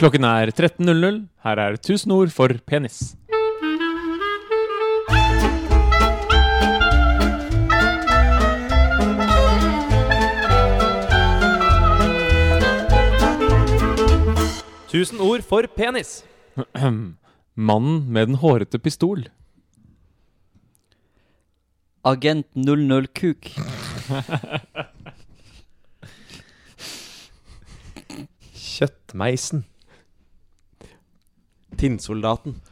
Klokken er 13.00. Her er 1000 ord for penis. Tusen ord for penis. Mannen med den hårete pistol. Agent 00 Kuk. Kjøttmeisen. Tinnsoldaten.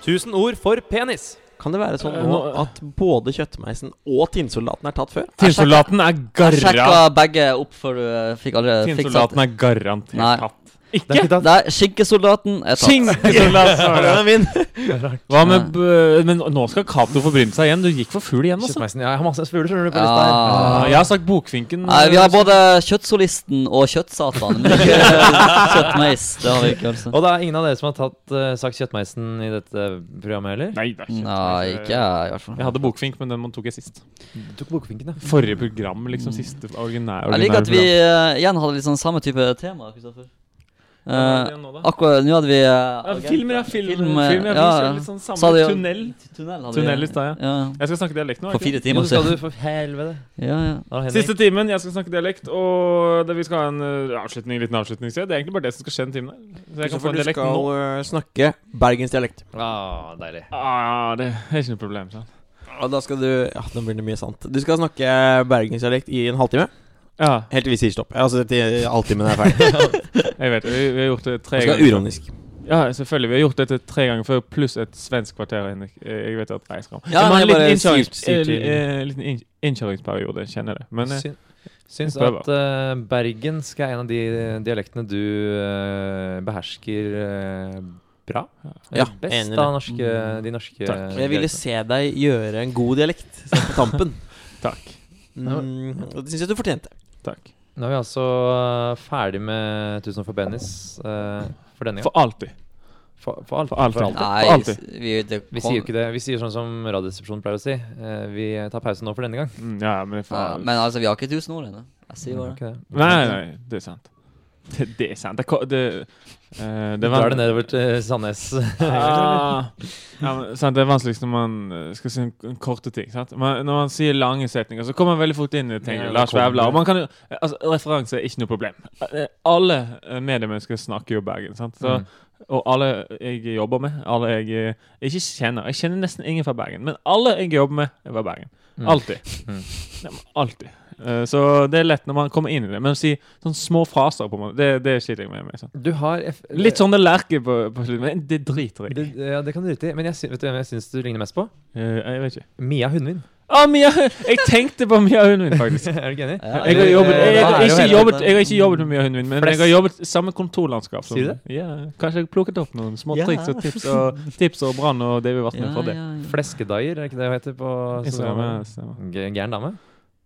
Tusen ord for penis. Kan det være sånn Eh, nå nå- at både kjøttmeisen og tinnsoldaten er tatt før? Tinnsoldaten er garra. Sjekka begge opp før du eh, fikk aldri fiksa Tinnsoldaten er Nei. garantert tatt. Ikke det. Nei, skinkesoldaten er tatt. Skinkesoldaten! min! Hva med b- Men nå skal Cato forbryne seg igjen. Du gikk for fugl igjen, altså. Kjøttmeisen. Ja, jeg har masse fugler, skjønner du. Ja. på lista her. Ah, Jeg har sagt Bokfinken. eh, Nei, vi har både kjøttsolisten og kjøttsatan. Men ikke kjøttmeis. Det har vi ikke, altså. Og det er ingen av dere som har tatt, eh, sagt Kjøttmeisen i dette programmet heller? Nei, det er ikke Nei, ikke jeg, i hvert fall. Jeg hadde Bokfink, men den tok jeg sist. Du tok bokfinken, Eh, ja. Forrige program, liksom. Siste originære Jeg liker at vi eh, igjen hadde liksom samme type tema, Kristoffer. Eh, akkurat nå hadde vi uh, Filmer er film. Film, film, ja, vi eh, ja, ja. ser litt sånn Sa samme de jo- tunnel. tunnel. hadde vi. Tunnel i stad, ja. Jeg skal snakke dialekt nå. For ikke? fire Jo, timer skal siden. du for helvete. Ja, ja. Da, Henrik. Siste timen, jeg skal snakke dialekt, og det, vi skal ha en eh, avslutning, liten avslutningssted. Det er egentlig bare det som skal skje den timen der. Så jeg kan få For en du dialekt skal nå. eh, snakke bergensdialekt. Ah, deilig. Ah, det er ikke noe problem. sant? Og da skal du Ja, nå blir det mye sant. Du skal snakke bergensdialekt i en halvtime. Ja, Helt til vi sier stopp. Altså til halvtimen er ferdig. jeg vet det. Vi, vi har gjort det Du tre skal være ganger. uronisk. Ja, selvfølgelig. Vi har gjort dette tre ganger før, pluss et svensk kvarter, Henrik. Eh, Jeg vet at jeg skal Ja, Jeg må ha men en jeg liten bare innkjørings- sier- sier til- eh, eh, liten inn- innkjøringsperiode, kjenner jeg det. Men eh, Syn, syns prøver. at eh, bergensk er en av de dialektene du eh, behersker eh, bra. Ja, Eller best enig i det. av norske, de norske Takk. Men jeg ville dialektene. se deg gjøre en god dialekt sånn på tampen. takk. Mm, og det syns jeg du fortjente. Takk. Nå er vi altså eh, ferdig med 1000 for Bennis eh, for denne For gang. alltid. For, for alt. For alt, For alt. alt. Nei, alltid. vi, det Vi kom- sier jo ikke det. Vi sier sånn som Radioresepsjonen pleier å si. eh, vi tar pause nå for denne gang. Mm, ja, men det får Ja, men altså, vi har ikke tusen ord ennå. Jeg sier Var bare det. det ikke det? Nei, nei, det er sant. Det, det er sant. Det, ko- det, eh, Du det drar det nedover til Sandnes. Ah, ja, men, sant, det er vanskeligst når man eh, skal si en, en korte ting. Sant? Men når man sier lange setninger, så kommer man veldig fort inn i ting. Ja, det Lars kommer. Vevla. Og man kan jo eh, altså, Referanse er ikke noe problem. Eh, Alle eh, mediemennesker snakker jo Bergen. Sant? Så, Mm. Og alle jeg jobber med, alle jeg eh, ikke kjenner Jeg kjenner nesten ingen fra Bergen, men alle jeg jobber med, er fra Bergen. Mm. Alltid. Mm. Ja, men Alltid. Eh, Så det er lett når man kommer inn i det. Men å si sånne små fraser, på en måte, det, det skiter jeg meg med. Sant? Du har F Litt sånn det lerker på, på slutten, men det driter jeg i. Det, ja, det kan du drite i. Men jeg, sy- vet du hvem jeg syns du ligner mest på? Eh, Jeg vet ikke. Mia Hundvin. Ah, Mia, jeg tenkte på Mia Hundvin, faktisk. er du ikke enig? Ja, Jeg har, jobbet, jeg, det har er jo ikke hele- jobbet, jeg har ikke jobbet med Mia Hundvin, men jeg Flest. har jobbet i samme kontorlandskap. som- Sier du Ja, kanskje jeg plukket opp noen små Ja. triks og tips og, tips og brann og det vi var med for det. Fleskedaier, er ikke det hun heter på Instagram, ja, sosiale- stemmer. G- Gæren dame?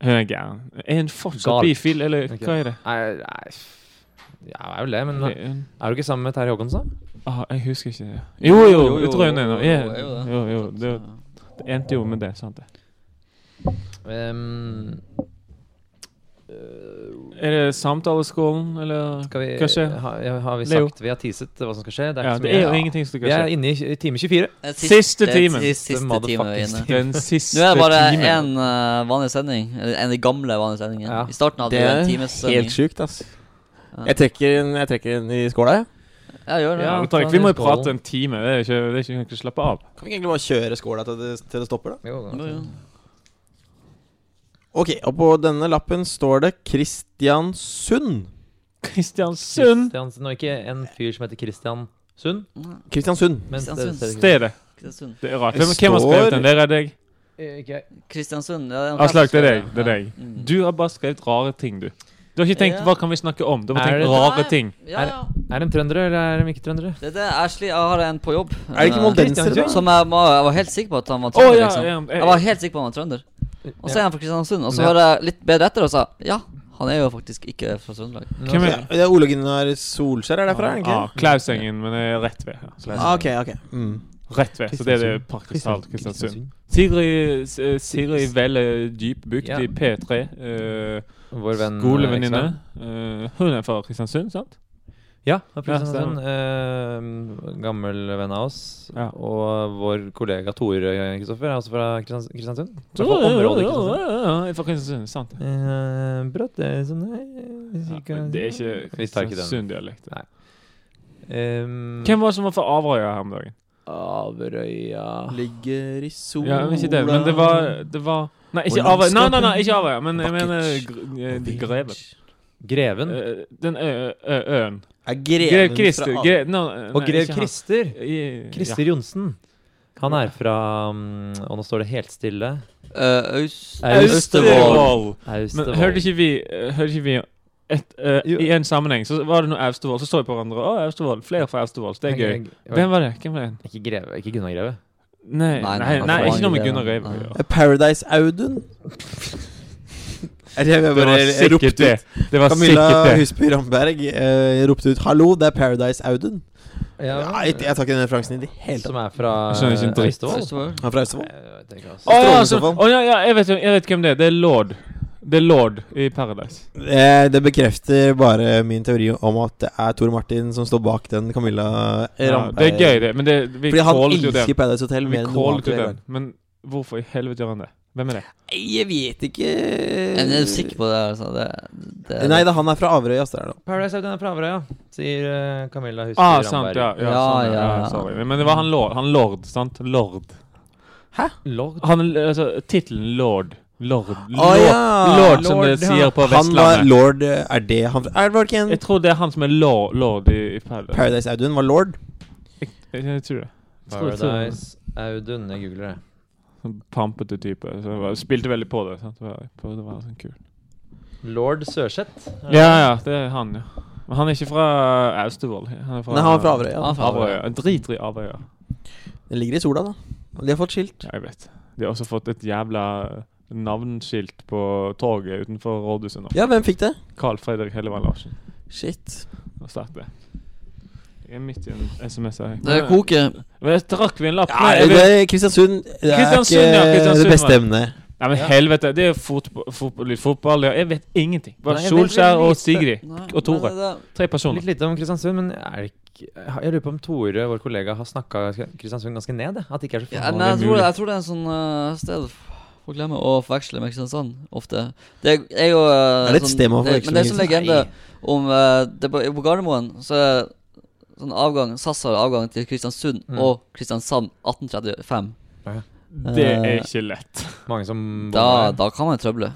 Hun er gæren. Er hun fortsatt Gal. bifil, eller Ok. hva er det? Nei, nei f- Ja, hun er vel det, men Nei, er hun- du ikke sammen med Terje Håkonsen? da? Ah, jeg husker ikke. det. Jo, jo, Jo, jo, jeg tror hun er jo, nå. jo, Ja, jo, det. Jo, jo, det, det endte jo med det, sant det. Ehm, Er det Samtaleskolen, eller skal vi, hva skjer? Ha, ja, har vi sagt Leo. Vi har teaset hva som skal skje. Det er, Ja, ikke så det mye. er jo Ja. ingenting som Vi skal er skje. inne i i time Det 24. er siste- Siste det er timen. siste time vi er Motherfuckers inne. Den siste Nå er det bare timen. én eh, vanlig sending. Eller en av de gamle vanlige sendingene. Ja. I starten hadde Det vi er en times sending. helt sjukt, ass. Ja. Jeg trekker en, jeg trekker en i skåla, jeg. Ja, gjør det. Ja, men Tariq, vi må jo prate en time. Det er ikke, det er ikke, vi kan ikke slappe av. Kan vi ikke egentlig bare kjøre skåla til det, til det stopper, da? Jo, da. Jo, jo. Ok, og på denne lappen står det Kristiansund. Kristiansund! Kristiansen, og ikke en fyr som heter Kristian Sund. Kristiansund. men- Kristiansund. det- det- Stedet. Kristiansund. Det er rart. Det Hvem, hvem har skrevet står- den? Det er deg. Eh, Ikke jeg. Kristiansund. Ja, er Aslak, det er kanskje- deg. Det er deg. Ja. Mm. Du har bare skrevet rare ting, du. Du har ikke tenkt Ja. 'hva kan vi snakke om'? Du har bare tenkt Er det- rare ting. Ja, ja. Er de trøndere, eller er de ikke trøndere? Det er det. Ashley, jeg har en på jobb. Er det ikke eh, moldensere, da? Som jeg, var- jeg var helt sikker på at han var Å trønder. ja, liksom. ja, Jeg var helt sikker på han var trønder. Og så er Ja. han fra Kristiansund. Og så Ja. hører jeg litt bedre etter og sa ja, han er jo faktisk ikke fra Trøndelag. Hvem Ja, er det er Ole Gunnar Solskjær er derfra, er det ah, ikke? Klausengen, men jeg er rett ved. Ah, ok, ok. Mm. Rett ved. Så det er det Parkdistalt Kristiansund. Sigrid, eh, Sigrid Velle Djupbukt Ja. i P3. eh, Vår venn skolevenninne. Ekstein. Eh, hun er fra Kristiansund, sant? Ja, fra Ja, Kristiansund. eh, gammel venn av oss. Ja. Og vår kollega Tore eh, Kristoffer er også fra Kristians- Kristiansund. Fra Ja, ja, området ja, Kristiansund. ja, ja, fra Kristiansund, sant det. Eh, Brått er det sånn her Ja, men det er ikke Vi tar ikke den. Kristiansund-dialekt. Nei. Um, Hvem var det som var fra Averøya her om dagen? Averøya Ah. Ligger i sola Ja, men ikke det, men det var, eh, det var Nei, ikke Og Averøya, nei, nei, nei, ikke Averøya, men jeg Bucket. mener Gr- eh, de Greven. Greven Eh, Den ø- ø- øen. Er Grev greven Christer. fra Gre, no, og nei, grev ikke han. Christer. I- Christer Johnsen. Han er fra um, Og nå står det helt stille. Eh, Aust- Ja. Austevoll. Austevoll. Men Austevoll. hørte ikke vi, eh, hørte ikke vi et, eh, Jo. I en sammenheng så var det noe Austevoll, så så vi på hverandre. Å, Austevoll. Flere fra Austevoll. så Det er gøy. Hvem var det? Hvem var det? Ikke Greve. Ikke Gunnar Greve. Nei, nei, Nei, nei, nei, det var ikke noe med ikke Gunnar Reiv det. å Nei. gjøre. Paradise-Audun? Er det jeg Det bare var ropte sikkert ut? det. Det var Camilla sikkert det. Husby Ramberg eh, ropte ut 'hallo, det er Paradise-Audun'. Ja, Nei, jeg tar ikke den referansen i det hele tatt. Som er fra Jeg skjønner ikke en dritt. Austevoll. Austevoll. Han er fra Austevoll. Jeg tenker altså- Å ja, så, Strålesofaen. å, ja, ja jeg, vet, hvem- jeg vet hvem det er. Det er Lord. Det er Lord i Paradise. Eh, det bekrefter bare min teori om at det er Tor Martin som står bak den Camilla Ja, Ramberg. det er gøy, det. Men det, vi Fordi han callet jo den. elsker Paradise Hotel Vi mer enn noen callet jo andre. den. Men hvorfor i helvete gjør han det? Hvem er det? Jeg vet ikke Men Jeg er sikker på det. altså Det, det Nei da, han er fra Averøy, ass. Det er det. Paradise Hotel er fra Averøy, ja. Sier eh, Camilla Husby Ah, sant, Ramberg. ja. Ja, Ja, sånn, ja, ja, ja. ja. Sorry. Men det var han lord, han lord sant? Lord. Lord. Han, altså, Tittelen lord. Lord, lord, Å, ja. lord, som Lord, det sier ja. på Han var Vestlandet. lord eh, Er det han fra- Er det var det ikke en Jeg tror det er han som er lord, lord i, i Paradise. Paradise Audun var lord? Jeg, jeg, jeg tror det. Jeg tror- jeg tror det. Paradise Audun. Jeg googler det. Sånn Pampete type. Så jeg var, spilte veldig på det. Sant? Det var, på, det var sånn kul. Lord Sørseth. Ja, ja, det er han, ja. Men han er ikke fra eh, Austevoll. Han er fra, Nei, han var fra Averøy. Ja. Han er fra Averøya. Jeg Driter i Averøya. Den ligger i sola, da. De har fått skilt. Ja, jeg vet. De har også fått et jævla navnskilt på torget utenfor rådhuset nå. Ja, hvem fikk det? Carl Fredrik Hellevann Larsen. Shit. Og start det. Jeg er midt i en SMS her. Det koker. Men jeg trakk vi en lapp? Ja, jeg det vet- er Kristiansund. Det er Kristiansund, ja, ikke Kristiansund, det beste ja. emnet. Nei, men Ja. helvete. Det er jo fotball, fotball, litt fotball. ja. Jeg vet ingenting. Bare Nei, jeg vet Solskjær veldig og lite. Sigrid. Nei, Og Tore. men det- Tre personer. Litt lite om Kristiansund, men er det ikke Jeg lurer på om Tore, vår kollega, har snakka Kristiansund ganske ned? jeg. At det ikke er så Ja, men jeg forbannet tror, mulig. jeg tror det er en sånn eh, sted folk glemmer å forveksle med Kristiansand ofte. Det er, er jo eh, Det er et sted man det- Men det er sånn forveksler med legende om eh, det, på, på Gardermoen så er sånn avgang SAS har avgang til Kristiansund Mm. og Kristiansand 1835. Det er ikke lett. Mange som Da, bor der. da kan man trøble.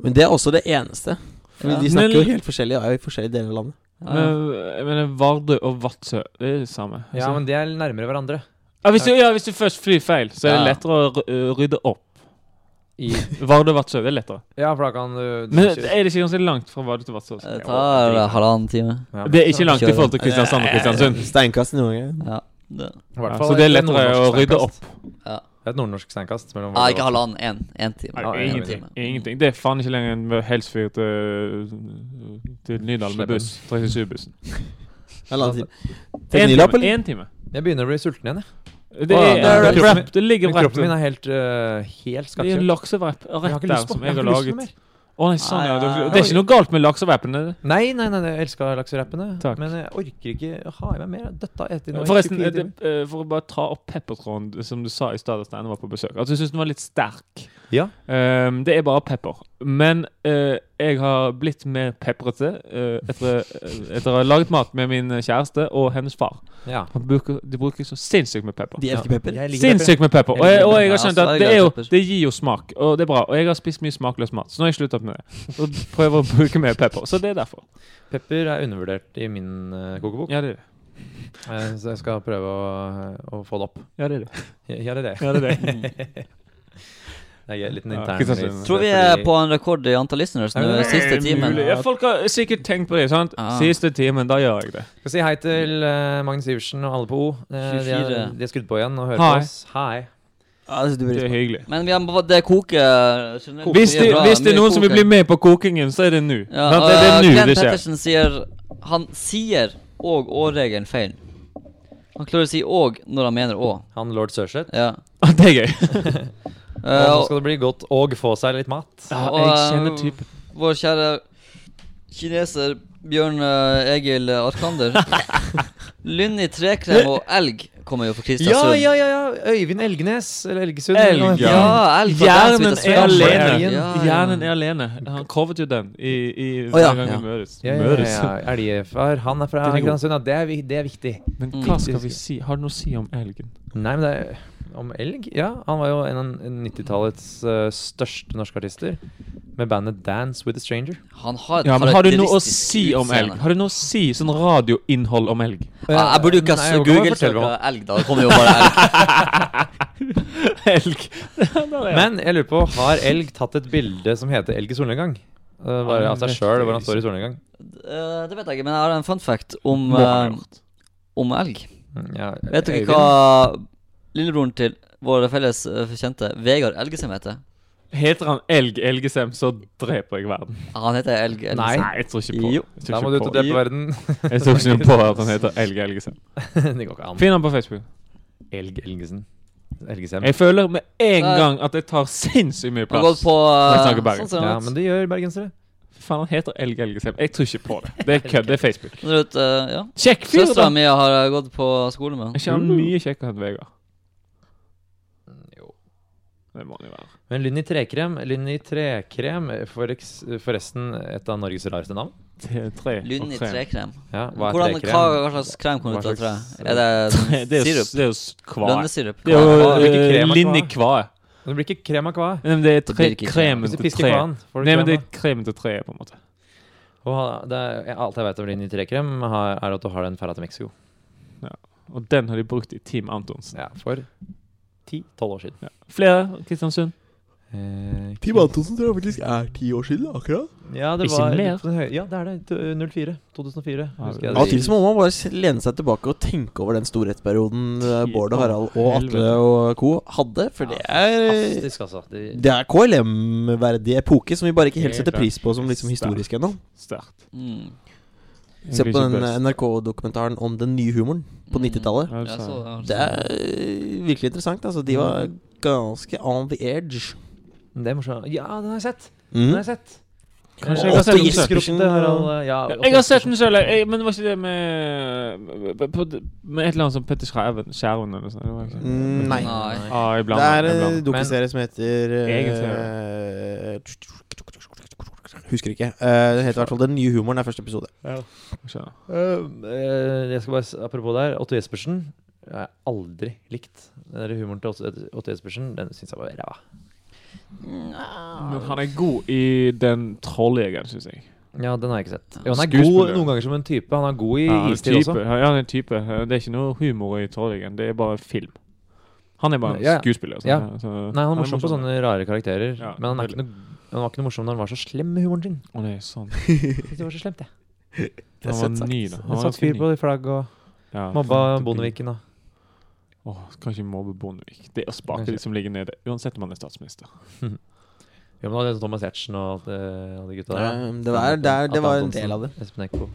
Men det er også det eneste. For Ja. De snakker Men- jo helt forskjellig og er i forskjellige deler av landet. Ja, Men, ja. men Vardø og Vadsø, det er det samme. Ja, men de er nærmere hverandre. ja, hvis, du, ja, hvis du først flyr feil, så er det Ja. lettere å ry- øh, rydde opp. I, Vardø og Vadsø, det er lettere. ja, for da kan du du Men skal er kjøre- det ikke ganske langt fra Vardø til Vadsø? også? Det Eh, tar halvannen time. Eh, Ja. Det er ikke langt i forhold til Eh, Kristiansand og Kristiansund. Steinkast noen ganger. Ja, det. I hvert Ja, fall så det er et lettere å nordnorsk rydde steinkast. Ja. Det er et nordnorsk steinkast. mellom Nei, Vardø ikke og- halvannen. Én en time. Nei, Ja, En ingenting. time. ingenting. Det er faen ikke lenger enn Helsfyr til, til Nydalen med buss. 37-bussen. Eller annen tid. Én Teknilapp, time. eller? Altså, en time. Jeg begynner å bli sulten igjen, jeg. Det Å, ja, er, det er det er rett. wrap. Det ligger Men wrap. kroppen min er helt, uh, helt Det er en skakkjørt. laksewrap Jeg har rett ikke der lyst på- som jeg jeg har har ikke lyst på laget. Å nei, sånn ja. Nei, Det det er ikke noe galt med laksewapen. er det? Nei, nei, nei, nei, jeg elsker lakserappene. Takk. Men jeg orker ikke ha i meg mer. Dette har jeg spist i nå i Forresten, 24 eh, det, timer. eh, for å bare ta opp peppertråden d- som du sa i stad da Steine var på besøk, at du syns den var litt sterk. Ja. Ehm, det er bare pepper. Men eh, jeg har blitt mer peprete eh, etter, etter å ha laget mat med min kjæreste og hennes far. Ja. Han bruker, de bruker så sinnssykt med pepper. De elsker pepper. Jeg liker pepper. Sinnssykt med pepper. Og jeg, og jeg har skjønt at det, er jo, Ja, altså, det er greit, pepper. det gir jo smak, og det er bra. Og jeg har spist mye smakløs mat, så nå har jeg sluttet med det. Og prøver å bruke mer pepper. Så det er derfor. Pepper er undervurdert i min eh, kokebok, Ja, det er det. Eh, så jeg skal prøve å, eh, å få det opp. Ja, det er det. Ja, det er det. Ja, det er det. Det er liten Ja, intern ikke sant, race, Sven? Tror vi er på en rekord i antall listeners nå, Er det siste timen. Mulig. Ja, folk har sikkert tenkt på det. sant? Ah. Siste timen, da gjør jeg det. Skal si hei til eh, Magnus Iversen og alle på O. Eh, de, er, 24. de er skrudd på igjen og hører Hei. på oss. Hei. Ja, det setter vi Det pris er på. hyggelig. Men vi har, må- det koker generelt Hvis mye det, bra, hvis det er mye noen som vil koker. bli med på kokingen, så er det nå. Ja, Sant? det, det og er nå Glenn det skjer. Pettersen sier Han sier og å-regelen feil. Han klarer å si 'og' når han mener 'å'. Han lord Sørseth. Ja. Det er gøy. Eh, og nå og- skal det bli godt og få seg litt mat. Ja, Og, jeg eh, kjenner typen. Vår kjære kineser Bjørn eh, Egil Arkander. Lynn i trekrem og elg kommer jo for Ja, Kristiansund. ja, ja, ja! Øyvind Elgenes. Eller Elgesund. Elg, eller noe. ja. elg fra Hjernen Dance with the er Strange. alene. Ja, ja, ja. Hjernen er alene. Han covret jo den i, i Å, hver ja. gang Ja. vi møtes. Ja, ja, ja, ja. Elgfar. Han er Den fra er god. Kristiansund. Ja, det er, vi- det er viktig. Men Mm. hva skal vi si? Har du noe å si om elgen? Nei, men det er om elg? Ja, han var jo en av 90-tallets eh, største norske artister. Med bandet Dance With A Stranger. Han har et Ja, men Har du noe å karakteristisk si om elg? utseende. Har du noe å si sånn radioinnhold om elg? Ja, jeg burde jo ikke Nei, ha jeg kan bare fortelle google-søka hva- elg, da. Det kommer jo bare elg. elg. Men Men jeg lurer på, har elg tatt et bilde som heter Elg i solnedgang? Eh, bare av seg sjøl, hvor han står i solnedgang. Eh, det vet jeg ikke, men jeg har en fun fact om, Må ha eh, om elg. Mm, Ja, Vet dere Øyvind. hva lillebroren til vår felles eh, kjente Vegard Elgesem heter? Heter han Elg Elgesem, så dreper jeg verden. Ja, Han heter Elg Elgesem. Nei, Nei. jeg tror ikke på Jo. Jeg Da tror må ikke du ut og på, drepe verden. jeg tror ikke på at han heter Elg Elgesem. det går ikke an. Finn han på Facebook. Elg Elgesen. Elgesem. Jeg føler med en Nei. gang at jeg tar sinnssykt mye Han har plass. gått på eh, Jeg snakker bare. sånn ser han Ja, ut. men det gjør bergensere. Fy faen, han heter Elg Elgesem. Jeg tror ikke på det. Det er kødd. Det er Facebook. Ser ut, eh, ja. Kjekk fyr, da! Søstera mi har eh, gått på skole med Er han. ikke han mye kjekkere enn Vegard? Jo. Det må han jo være. Men Lynn i trekrem, Lynn i trekrem for eks- forresten et av Norges rareste navn. Tre, tre Lynn i og tre. trekrem. Ja, hva er Hvordan, hva, trekrem? hva slags krem kommer Hva ut av tre? slags, Er det Det er jo, sirup? det er jo s- kvae. Lønnesirup? Det er jo Hva? Hvilken krem er eh, linn i kvae? kvae. Det blir ikke krem av kva. Nei, men Det er Det tre, blir ikke kremen Hvis du til pisker treet. kvaen, får du Nei, men krem det av. er kremen til treet, på en måte. Og ha- det er, ja, alt jeg vet om Linn i trekrem, har- er at du har den ferda til Mexico. Og den har de brukt i Team Antonsen. Ja, for 10-12 år siden. Ja. Flere Kristiansund? Eh, Tim Antonsen tror jeg faktisk er ti år siden, akkurat. ja, det Ikke var mer. litt høy- Ja, det eh, er det. T- 04. 2004. Ja, husker det- jeg Av og til det. så må man bare s- lene seg tilbake og tenke over den storhetsperioden eh, Bård og Harald og Atle og co. hadde, for det er Fantastisk, altså. De, det er KLM-verdig epoke som vi bare ikke helt Helt setter klart. pris på som liksom historisk ennå. Sterkt. Mm. Se på den eh, English eh, is best. NRK-dokumentaren om den nye humoren på Mm. 90-tallet. Ja, Jeg så, altså. så- jeg Det er eh, virkelig interessant. Altså, de var Mm. ganske on the edge. det er morsomt. Ja, den har jeg sett! Den har Mm. jeg sett. Kanskje Og jeg har sett den Otto selv. Jespersen Skrotte, Harald, ja, Ja, Jeg har sett den selv, jeg, men det var ikke det med på- Med et eller annet som Petter Skjerven Skjerven eller noe sånt? det var ikke- Mm, Nei. Nei. Ah, jeg Det blander. er eh, jeg en blander. dokuserie som heter eh, Husker ikke. Eh, det heter i hvert fall Den nye humoren er første episode. Jeg skjønner. Øhm, eh, jeg skal bare, s- Apropos der, Otto Jespersen har jeg aldri likt. Den der humoren til Otto Otto Jespersen Den syns jeg var ræva. Men han er god i den trolljegeren, syns jeg. Ja, den har jeg ikke sett. Jo, han er god Skuespiller. noen ganger som en type. Han er god i Ja, han er istid type. også. Ja, han er type. Det er ikke noe humor i Trolljegeren, det er bare film. Han er bare en Ja, ja. skuespiller. Så, Ja. så, Nei, han er morsom på sånne rare karakterer. Ja, men han, er ikke noe, han var ikke noe morsom når han var så slem med humoren sin. Å, det er sånn. Jeg synes Det var så slemt, jeg. er Han var søtt sagt. ny, da. Han var Han satt ganske fyr ny. på flagg og Ja, mobba fant det Bondeviken og bygg- Åh, kan ikke mobbe Bondevik. Det er spake de som ligger nede, uansett om han er statsminister. Ja, men det var det Thomas Giertsen og alt det- alle de gutta der. da. Eh, Det var, det, er, det var en del av det. Espen Eckbo.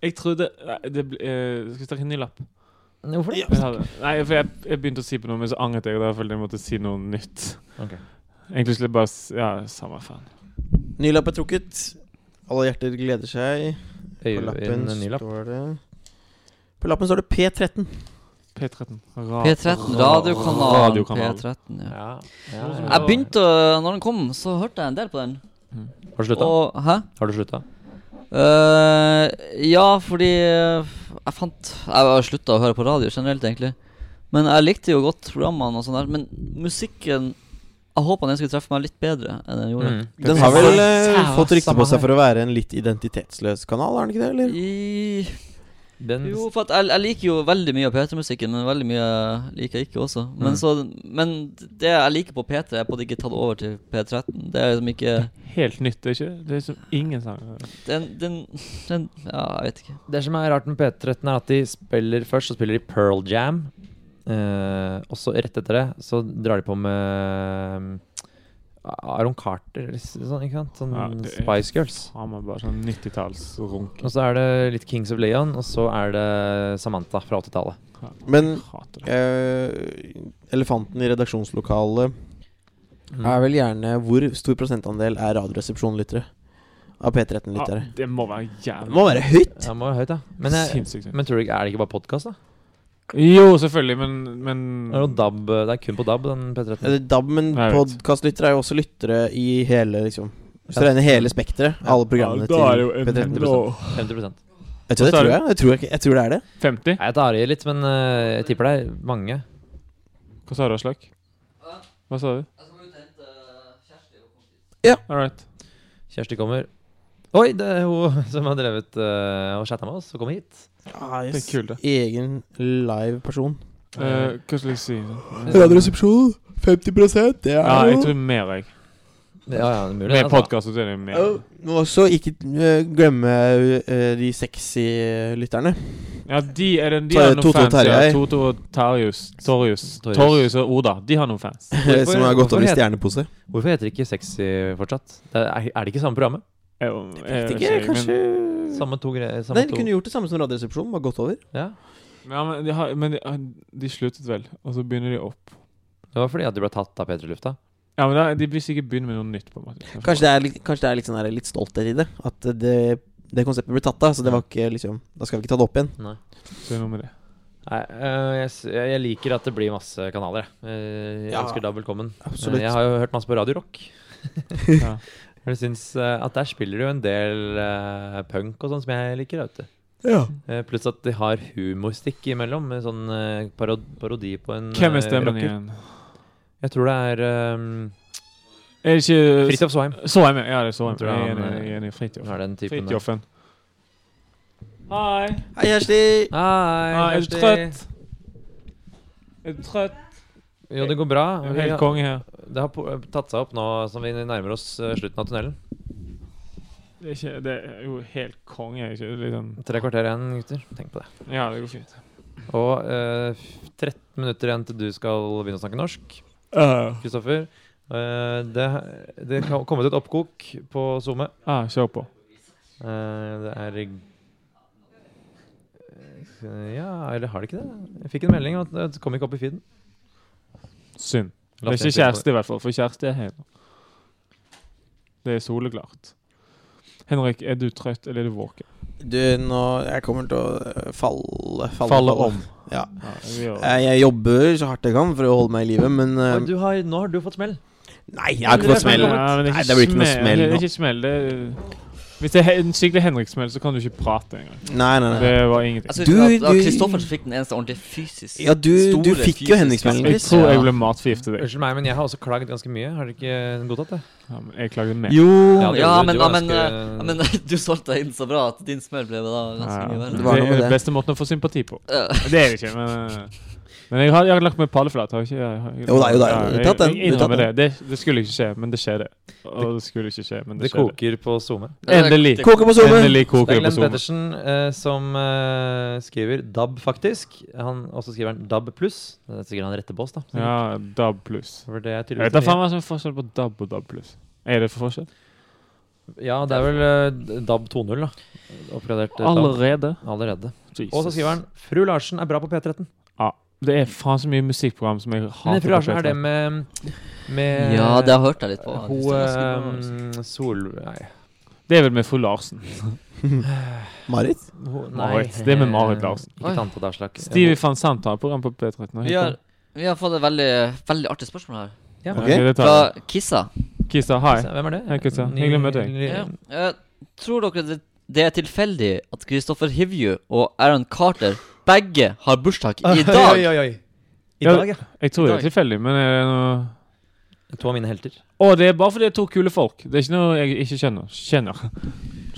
Jeg trodde Nei, det ble, eh, Skal vi ta en ny lapp? Hvorfor det? Jeg hadde, nei, for jeg, jeg begynte å si på noe, men så angret jeg. og Da følte jeg jeg måtte si noe nytt. Ok. Egentlig skulle jeg bare s- Ja, samme faen. Ny lapp er trukket. Alle hjerter gleder seg. På Øy- lappen en ny lapp. står det På lappen står det P13. P13. Ra- P13, ra- radiokanalen radiokanal. P13, ja. Ja, ja, Noe som ja. Jeg begynte å Når den kom, så hørte jeg en del på den. Har du slutta? Og Hæ? Har du slutta? Eh, ja, fordi eh, jeg fant Jeg har slutta å høre på radio generelt, egentlig. Men jeg likte jo godt programmene og sånn der. Men musikken Jeg håpa den skulle treffe meg litt bedre enn den Mm. gjorde. Den har vel eh, Samme fått rykte på her. seg for å være en litt identitetsløs kanal, har den ikke det? eller? I, Den jo, for at jeg, jeg liker jo veldig mye av P3-musikken, men veldig mye liker jeg ikke også. Men, så, men det jeg liker på P3, er på en måte ikke tatt over til P13. Det er liksom ikke Helt nytt, det er ikke? Det er som ingen sånn, sanger. Den, den, den Ja, jeg vet ikke. Det som er rart med P13, er at de spiller først, så spiller de Pearl Jam. Eh, og så rett etter det så drar de på med Aaron Carter eller s- sånn, ikke sant? Sånn Ja, det er- Spice Girls. Har man bare sånn 90-tallsrunk. Og så er det litt Kings of Leon, og så er det Samantha fra 80-tallet. Men Hater det. eh, elefanten i redaksjonslokalet Mm. Mm. er vel gjerne Hvor stor prosentandel er Radioresepsjon-lyttere? Av Ja, P13-lyttere? Ah, det må være Det jævlig må være høyt! Det må være høyt, da. Men, jeg, Sinnssykt. men tror du ikke, er det ikke bare podkast, da? Jo, selvfølgelig, men, men Det er, noe DAB, det er kun på DAB, den P13. Eller DAB, men Jeg vet. podkastlyttere er jo også lyttere i hele liksom Hvis du Ja. regner hele spekteret, alle programmene da er det jo til en- P13 nå- 50 Vet du, det Hva sa tror du? jeg. Jeg tror, ikke, jeg tror det er det. 50? Nei, Jeg tar i litt, men eh, jeg tipper det er mange. Hva sa du, Aslak? Hva sa du? Jeg skal ut og hente Kjersti. All right. Kjersti kommer. Oi, det er hun som har drevet eh, og chatta med oss, og kommer hit. Det er kult, det. Egen live person. Eh, hva skal jeg si? Radioresepsjon, 50 det er Ja, jeg tror mer, jeg. Ja, ja, det er mulig. Med altså. podkast så er det mer. Og også ikke eh, glemme eh, de sexy eh, lytterne. Ja, de er den, de Ta- har noen Toto fans. Ja. Terjei. Toto og Tarjus. Torjus. Torjus. Torjus og Oda. De har noen fans. Hvorfor- som har gått over hvorfor i het- stjernepose. Hvorfor heter det ikke Sexy fortsatt? Det er, er det ikke samme programmet? Jeg, Vet jeg ikke, vet kanskje Samme to greier? Nei, Samme de to. kunne gjort det samme som Radioresepsjonen, bare gått over. Ja. Men, ja, men, de, har, men de, ah, de sluttet vel, og så begynner de opp. Det var fordi at de ble tatt av P3 Lufta. Ja, men da, De vil sikkert begynne med noe nytt. på en måte Kanskje det er, litt- kanskje det er litt, sånn der, litt stolthet i det. At det, det konseptet ble tatt av. Så det var ikke liksom Da skal vi ikke ta det opp igjen. Nei. Så er det noe med det. Nei, øh, jeg, s- jeg jeg liker at det blir masse kanaler. Jeg, Eh, jeg Ja, ønsker da velkommen. absolutt. Eh, Jeg har jo hørt masse på Radio Rock. Ja. Jeg syns eh, at der spiller de jo en del eh, punk og sånn som jeg liker. Vet du. Eh, Pluss at de har humorstikk imellom, med sånn eh, parod parodi på en Hvem eh, er stemmen rocker. igjen? Jeg tror det er um, Er det ikke Fridtjof Sveim. Så jeg med. Ja, det er så jeg Jeg med. tror Jeg er han, enig- jeg er enig. Nå Fridtjof. er det den typen der. Fridtjofen. Hei. Hei, Kjersti! Hei, Hei, er du Kjersti. trøtt? Er du trøtt? Jo, det går bra. Du er Vi har- helt konge her. Det har po- tatt seg opp nå som vi nærmer oss eh, slutten av tunnelen. Det er, ikke, det er jo helt konge. er det Ikke? Det er litt sånn- Tre kvarter igjen, gutter. Tenk på det. Ja, det går fint. Og eh, f- 13 minutter igjen til du skal begynne å snakke norsk, Kristoffer. Eh, det, det har kommet et oppkok på SoMe. Ah, kjør på. Eh, det er Eh, Ja, eller har det ikke det? Jeg fikk en melding om at det kom ikke opp i feeden. Synd. Det er Last ned ikke kjæreste, i hvert fall. For kjæreste er hele. Det er soleklart. Henrik, er du trøtt, eller er du våken? Du, nå Jeg kommer til å eh, falle Falle, Ja. Ja, vi gjør det. Jeg, jeg jobber så hardt jeg kan for å holde meg i live, men eh, Oi, du har, nå har du fått smell. Nei, jeg har ikke Men fått smell. det er Ja, men Nei, det blir ikke noe smell Det er nå. ikke smell. Det er, hvis det er he- en skikkelig Henrik-smell, så kan du ikke prate engang. Nei, nei, Altså, nei. Det var ingenting. Jeg skal Du- huske Altså, at det var du- Kristoffer som fikk den eneste ordentlig fysisk Ja, du, du store fikk jo fysiske- Henrik-smellen, Jeg Chris. tror jeg Ja. ble matforgiftet. jeg. Unnskyld meg, men jeg har også klaget ganske mye. Har dere ikke godtatt det? Ja, men jeg klager mer. Jo Ja, det- Ja, du- du men, var ja, men, ganske- eh, ja, men du solgte deg inn så bra at din smell ble da Ja, ganske mye verre. det Det var noe er med den det. beste måten å få sympati på. Ja. Det er det ikke, men Men jeg har, jeg har lagt meg palleflat. Har ikke, jeg, har, Jo da, jo da, Ja, du jeg- tatt den, Jeg du tatt innrømmer det. det. Det skulle ikke skje, men det skjedde. Og det skulle ikke skje, men det, Det skjedde. koker på SoMe. Endelig. Det- Koker på zoomen! Endelig koker Det er det på Glenn Zoom. Pettersen eh, som eh, skriver DAB, faktisk. Han, og så skriver han DAB pluss. Det er sikkert han retter på oss, da. Ja, DAB pluss. For det er Jeg vet tydeligvis da faen hva som er forskjell på DAB og DAB pluss. Er det for forskjell? Ja, det er vel eh, DAB 2.0, da. Oppgradert eh, DAB. Allerede? Allerede. Jesus. Og så skriver han Fru Larsen er bra på P13. Det er faen så mye musikkprogram som jeg Men hater. Fru Larsen på er det P3. med, med Ja, det har jeg hørt deg litt på. Hun altså. eh, Sol... Nei. Det er vel med fru Larsen. Marit? Hun- Marit. Det er med Marit Larsen. Ikke tante Darslak. Stevie van Sant har et program på P13. nå. vi, har, vi har fått et veldig, veldig artig spørsmål her. Ja. Ok, Ok. det tar Fra jeg. Kissa. Kisa, hei. Hvem er det? Hei, Kristian. Hyggelig å møte deg. Ny- Ja. Eh, tror dere det, det er tilfeldig at Kristoffer Hivju og Aaron Carter begge har bursdag i dag? Oi, oi, oi. I Ja. dag, ja. Jeg tror det er tilfeldig, men er det noe To av mine helter. Og det er bare fordi det er to kule folk. Det er ikke noe jeg ikke skjønner. Skjønner.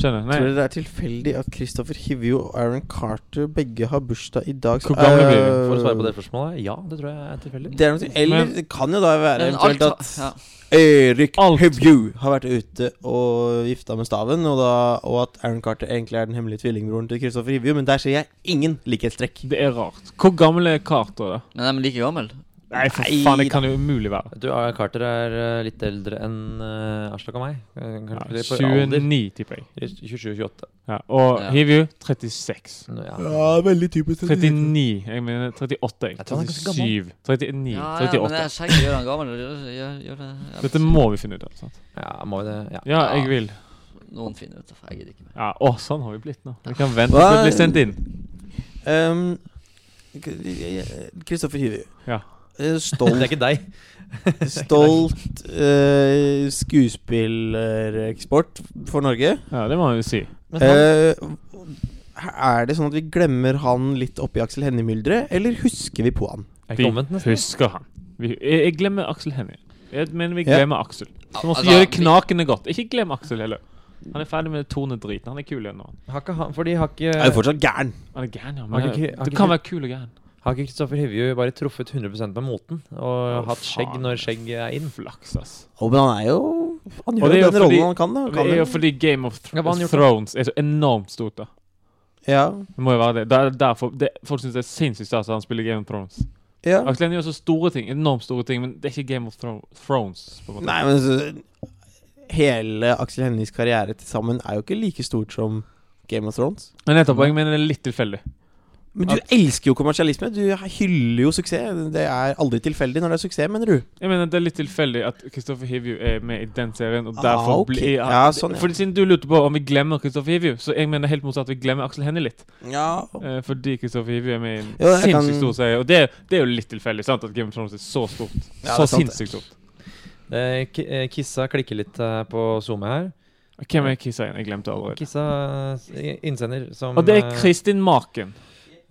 Skjønner. Tror Nei. dere det er tilfeldig at Christopher Hivju og Aaron Carter begge har bursdag i dag? eh, Hvor gamle blir de? For å svare på det spørsmålet, ja, det tror jeg er tilfeldig. Det er noe, eller Men- det kan jo da være Men eventuelt alt- at ja. Erik Alt. Hivju har vært ute og gifta med staven, og, da, og at Aaron Carter egentlig er den hemmelige tvillingbroren til Christopher Hivju, men der ser jeg ingen likhetstrekk. Det er rart. Hvor gammel er Carter, da? Men de er like gamle. Nei, for faen, det kan jo umulig være. Du, ah, Carter er eh, litt eldre enn eh, Aslak og meg. Eh, Ja, Kanskje litt på alder. 29, tipper jeg. 27-28. Ja. Og Ja. Hivju 36. Ja. veldig typisk 39. Jeg mener 38. Jeg. Jeg tror han er ganske 37. 39. Ja, ja, men det 38. er skjegget gjør han gammel. Gjør, gjør, gjør det. Ja, Dette må vi finne ut av. sant? ja, må vi det? Ja. Ja, jeg vil. Noen finner ut av det. Jeg gidder ikke mer. Ja, Å, sånn har vi blitt nå. Vi kan vente til det blir sendt inn. Um, Kristoffer Hivju. Ja. Eh, Det er Stolt, ikke deg. stolt eh, skuespillereksport for Norge. Ja, Det må vi jo si. Men sånn, han, Eh, er det sånn at vi glemmer han litt oppi Aksel Hennie-mylderet, eller husker vi på han? er Vi ikke omvendt, nesten. husker han. Vi, jeg, jeg glemmer Aksel Hennie. Jeg mener vi Ja. glemmer Aksel. Som også altså, gjør det vi- knakende godt. Ikke glem Aksel heller. Han er ferdig med Tone-driten. Han er kul igjen nå. Har ikke han, fordi har ikke Er jo fortsatt gæren. Han er gæren, ja. Har Men ikke- har du ikke- kan være kul og gæren. Har ikke Kristoffer Hivju bare truffet 100 med moten og Å, hatt skjegg faen. når skjegg er inn? Flaks, ass. Å, men han er jo Og Han gjør det jo er jo den rollen fordi- han kan, da. Han Det Kan er jo jo- fordi Game of Thr- Ja, hva har han gjort da? Thrones er så enormt stort, da. ja, Det må jo være det. Det er derfor det, Folk syns det er sinnssykt stas at han spiller Game of Thrones. ja. Aksel Hennie gjør så store ting, enormt store ting, men det er ikke Game of Thro Thrones. på en måte. Nei, men så, hele Aksel Hennies karriere til sammen er jo ikke like stort som Game of Thrones. Men nettopp, og jeg mener det er litt tilfeldig. Men du elsker jo kommersialisme. Du hyller jo suksess. Det er aldri tilfeldig når det er suksess, mener du. Jeg mener det er litt tilfeldig at Kristoffer Hivju er med i den serien, og Ah, derfor ok. blir Ja, sånn, ja. Fordi Siden du lurte på om vi glemmer Kristoffer Hivju, så jeg mener helt motsatt. Vi glemmer Aksel Hennie litt. Ja. Eh, fordi Kristoffer Hivju er med i en Oh. Jo, jeg sinnssykt kan- stor serie. Og det, det er jo litt tilfeldig, sant, at Game of Thrones er så stort. Ja, det er så sant, det. sinnssykt stort. Eh, Ki- eh, Kissa klikker litt eh, på SoMe her. Hvem er Kissa igjen? Jeg glemte allerede. Kissa eh, innsender som Og det er eh, Kristin Maken.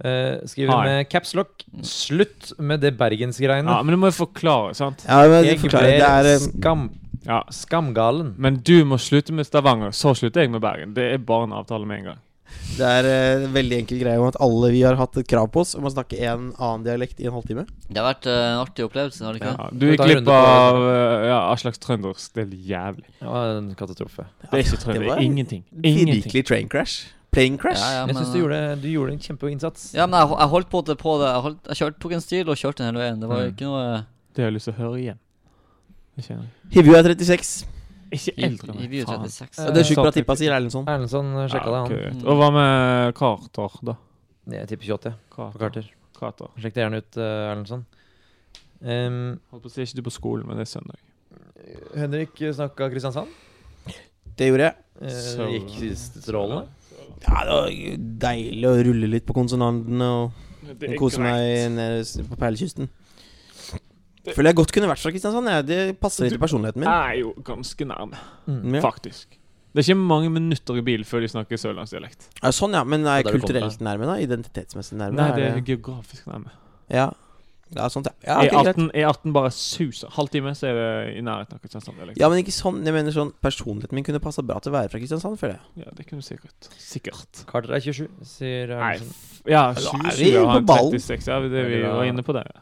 eh, skriver Hi. med caps lock 'Slutt med det bergensgreiene'. Ja, men det må jeg forklare, sant? ja men Jeg forklar. Det ble er eh, skam, Ja. skamgalen. Men du må slutte med Stavanger, så slutter jeg med Bergen. Det er bare en avtale med en gang. Det er eh, en veldig enkel greie om at alle vi har hatt et krav på oss om å snakke en annen dialekt i en halvtime. Det har vært eh, en artig opplevelse, har det ikke? Ja, du Vi gikk tar en glipp runde på- av eh, ja, Aslaks trønders. Det er jævlig. Det var en katastrofe. Det er ikke trønder. Det var er ingenting. Ingenting. Virkelig train crash. Plane crash. Ja, ja, Jeg men, eh, syns du, gjorde- du gjorde en kjempeinnsats. ja, men jeg, jeg holdt på det på det. Jeg, holdt, jeg kjørte, tok en stil og kjørte den hele veien. Det var jo Mm. ikke noe eh, Det har jeg lyst til å høre igjen. Det kjenner jeg. Hivju er 36. Ikke I, eldre, i, nei. Vue Faen. 36. Og det er sjukt Så bra tippa, typisk. sier Erlendsson. Erlendsson eh, sjekka Ja, det, kult. Og hva med Carter, da? han. Jeg tipper 28 på Carter. Carter. Carter. Sjekk det gjerne ut, eh, Erlendsson. Ehm, Holdt på å si ikke du på skolen, men det er søndag. Henrik snakka Kristiansand. Det gjorde jeg. Eh, Så- Det gikk strålende. Ja, det var deilig å rulle litt på konsonantene og kose meg nede s- på perlekysten. Føler jeg godt kunne vært fra Kristiansand. Jeg. Det passer litt til personligheten min. Er jo ganske nærme, Mm. Ja. faktisk. Det er ikke mange minutter i bil før de snakker sørlandsdialekt. Ja, sånn, ja. Men er Og der jeg du kom kulturelt nærme, da? Identitetsmessig nærme? Nei, er det er geografisk nærme. Ja. Det er sånt, ja. ja ok, greit. E18, E18 bare suser. Halvtime, så er det i nærheten av Kristiansand. Ja, men ikke sånn. Jeg mener sånn Personligheten min kunne passa bra til å være fra Kristiansand, føler jeg. Ja, det kunne du sikkert. Sikkert. Carter er 27, sier Nei, Erlendsson. f- ja, Da 27 er vi og han på ballen. 36. Ja, det vi Veldig bra. var inne på der. ja.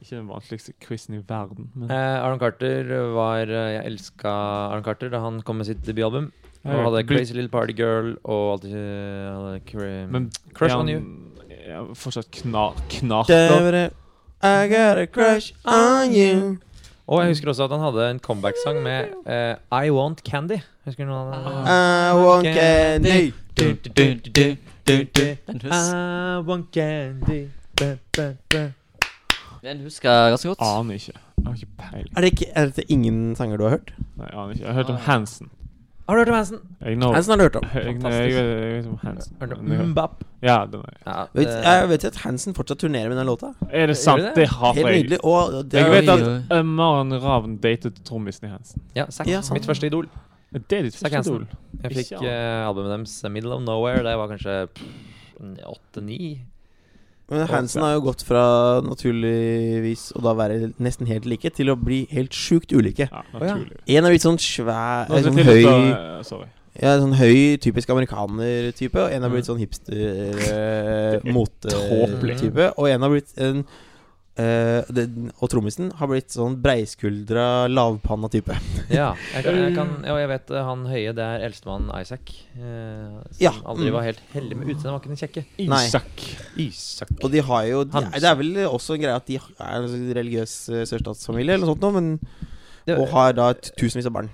Ikke den vanskeligste quizen i verden, men Eh, Aron Carter var eh, Jeg elska Aron Carter da han kom med sitt debutalbum. Jeg har Han hadde hørt- Crazy Little Party Girl og alt det eh, cra- Men Crush er on han- You. er han fortsatt knar, knart. da? Dævere, I got a crush on you. Og jeg husker også at han hadde en comeback-sang med eh, I Want Candy. Husker du noe av det? I want candy. Du, du, du, du, du, du. Den, hus, Ah. I want candy ba, ba, ba. den husker jeg ganske godt. Aner ikke. Jeg har ikke peiling. Er det, ikke, er det ingen sanger du har hørt? Nei, jeg aner ikke. Jeg har hørt om Ah, ja. Hansen. Har du hørt om Hansen? Jeg know. Hansen har du hørt om. Jeg, jeg, jeg, Fantastisk. vet- jeg vet om Hansen. Hørt om men jeg- Mbap? Ja, den er Ja, eh, Vet, det- jeg vet at Hansen fortsatt turnerer med den låta. Er det sant? det? Det hater Helt jeg. nydelig. Og det Jeg er- vet Oi, at eh, Maren Ravn datet trommisen i Hansen. ja, Zack. Ja, sant. Mitt første idol. Det er ditt Zack første Hansen. idol. Jeg fikk Ikke eh, albumet deres eh, Middle of Nowhere. Det var kanskje åtte-ni. Men Hansen har jo gått fra naturligvis å da være nesten helt like, til å bli helt sjukt ulike. Ja, ja. naturlig. En er blitt sånn svær Nå skal sånn jeg til å ta- høy, eh, Sorry. ja, sånn høy, typisk amerikaner-type, og Mm. eh, en har blitt sånn hipster-mote-type. og en har blitt en eh, det, og trommisen har blitt sånn breiskuldra, lavpanna type. Ja, jeg, kan, jeg, kan, ja, jeg vet eh, han høye, det er eldstemann Isaac. Eh, som Ja, aldri mm. var helt heldig med utseendet, han var ikke den kjekke. Nei. Isak. Isak. Og de har jo de, Han- Det er vel også en greie at de er en religiøs eh, sørstatsfamilie eller noe sånt, nå, men, Det, og har da t- tusenvis av barn.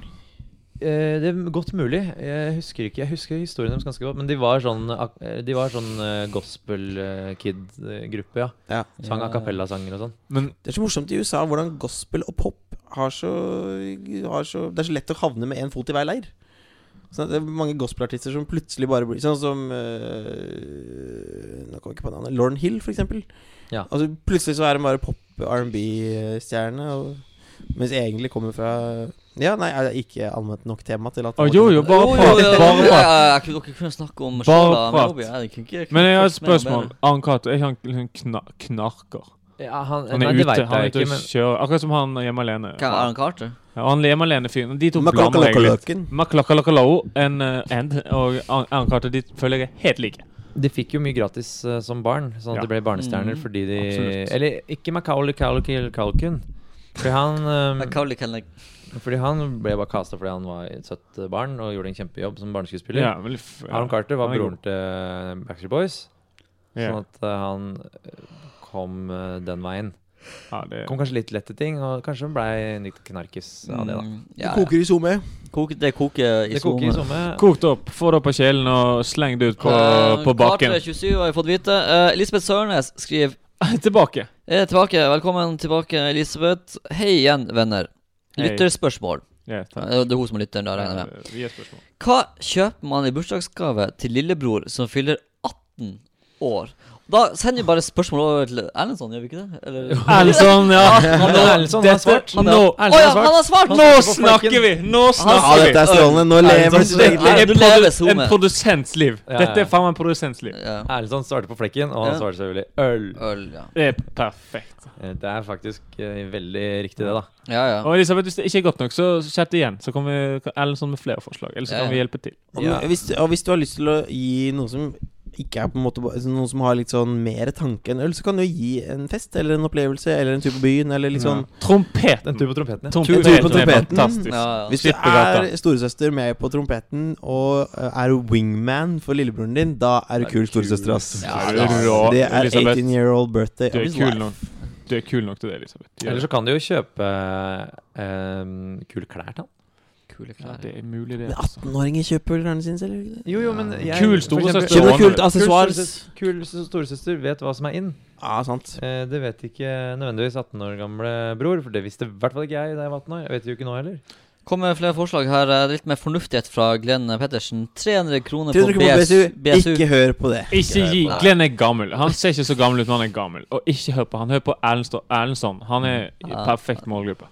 eh, det er godt mulig. Jeg husker ikke Jeg husker historien deres ganske godt. Men de var sånn, ak- eh, de var sånn eh, gospel eh, kid-gruppe, ja. Ja. Sang Ja. a cappella-sanger og sånn. Men Det er så morsomt i USA hvordan gospel og pop har så, har så Det er så lett å havne med én fot i hver leir. Sånn at det er mange gospelartister som plutselig bare blir Sånn som øh, Nå kom jeg ikke på navnet. Lauren Hill, for eksempel. Ja. Altså, plutselig så er hun bare pop-R&B-stjerne. eh, og- Mens egentlig kommer fra Ja, nei, er det ikke allment nok tema til at Å, jo, Eh, jo, bare prat. Bare Jeg, prat. kunne- dere kunne snakke om Bare Shola prat. Melobi. Jeg kunne ikke- jeg kunne Men jeg ikke har et sagt mer om spørsmål. det. Arn Cato, er ikke han liksom kna knarker? Ja, Han han, er nei, det ute vet han er jeg ute ikke, og men kjører. Akkurat som han hjemme alene. Hvem er Aaron Carter? Ja, og han hjemme alene-fyren. De to blander jeg litt. Makalakalakaløken. Maklakalakalao and, uh, and og Arn Arn Cato de føler jeg er helt like. De fikk jo mye gratis eh, som barn, sånn at Ja. de ble barnestjerner Mm. fordi de Absolutt. Eller ikke Macaulay Culkin. Culkin. Fordi han, eh, Macaulay Culkin. fordi han ble bare kasta fordi han var et søtt eh, barn og gjorde en kjempejobb som barneskuespiller. Ja, vel, f- ja. Aaron Carter var Han er broren til eh, Backstreet Boys, Ja. sånn at eh, han eh, kom eh, den veien. Ja, det, Kom kanskje litt lett til ting, og kanskje han blei litt knarkis av det, da. Mm, ja, Det koker i SoMe. ja. Koke, det koker i Det koker i sommene. somme. Kokt opp, få det opp av kjelen og sleng det ut på, Eh, på bakken. Carter 27 har jeg fått vite. Eh, Elisabeth Sørnes skriver Tilbake. Jeg er tilbake. Velkommen tilbake, Elisabeth. Hei igjen, venner. Hei. Lytterspørsmål. Ja, takk. Eh, Det er hun som er lytteren, da, regner jeg med. Eh, Vi har spørsmål. Hva kjøper man i bursdagsgave til lillebror som fyller 18 år? Da sender vi bare spørsmål over til Erlendsson, gjør vi ikke det? Eller? Erlendson, ja. Erlendson har Dette- svart. Nå, Å ja, han har svart! nå snakker vi! Nå Ja, snakker vi! dette er strålende. Nå lever du sitt eget liv. Dette Nei, er du produ- lever SoMe. en produsents liv. Ja, ja. Dette er faen meg en produsents liv. Ja. Erlendson svarte på flekken, og han Ja. svarte selvfølgelig øl. Øl, ja. Det er perfekt. Eh, Det er faktisk eh, veldig riktig, det, da. Ja, ja. Og Elisabeth, hvis det ikke er godt nok, så chat igjen. Så kan vi eller sånn med flere forslag. Eller så Ja, kan ja. vi hjelpe til. Og, Ja. hvis, og hvis du har lyst til å gi noe som ikke er på en måte bare- altså Noen som har litt sånn mer tanke enn øl, så kan du gi en fest eller en opplevelse eller en tur på byen eller litt sånn Trompeten. Den tur på trompeten, ja. Trompeten Tur på er trompeten. fantastisk. ja, ja. Hvis du Skippegata. er storesøster med på trompeten og eh, er wingman for lillebroren din, da er du kul storesøster, ass. Ja, Er det er- du rå, Det er Elisabeth? 18 year old birthday. Du of er his kul life. nok. Du er kul nok til det, Elisabeth. Gjør Eller det. så kan du jo kjøpe eh, kule klær til han. Kule Ja, klær. det er mulig, det. Men Altså. 18-åringer kjøper klærne sine selv, gjør de ikke det? Jo, jo, men jeg Kul for storesøster. eksempel- Kjøp deg Kjøper du kult accessoires? storesøster- Kul storesøster vet hva som er in. Ja, sant. Eh, det vet ikke nødvendigvis 18 år gamle bror, for det visste i hvert fall ikke jeg da jeg var 18 år. Jeg vet jo ikke nå heller. Kom med flere forslag her. eh, Litt mer fornuftighet fra Glenn Pettersen. 300 kroner 300 på kroner på BSU. BSU. Ikke hør på det. Ikke hør gi på det. Glenn er gammel. Han ser ikke så gammel ut, men han er gammel. Og ikke hør på han. Hør på Erlendson. Erlendson. Han er i Ja. perfekt målgruppe.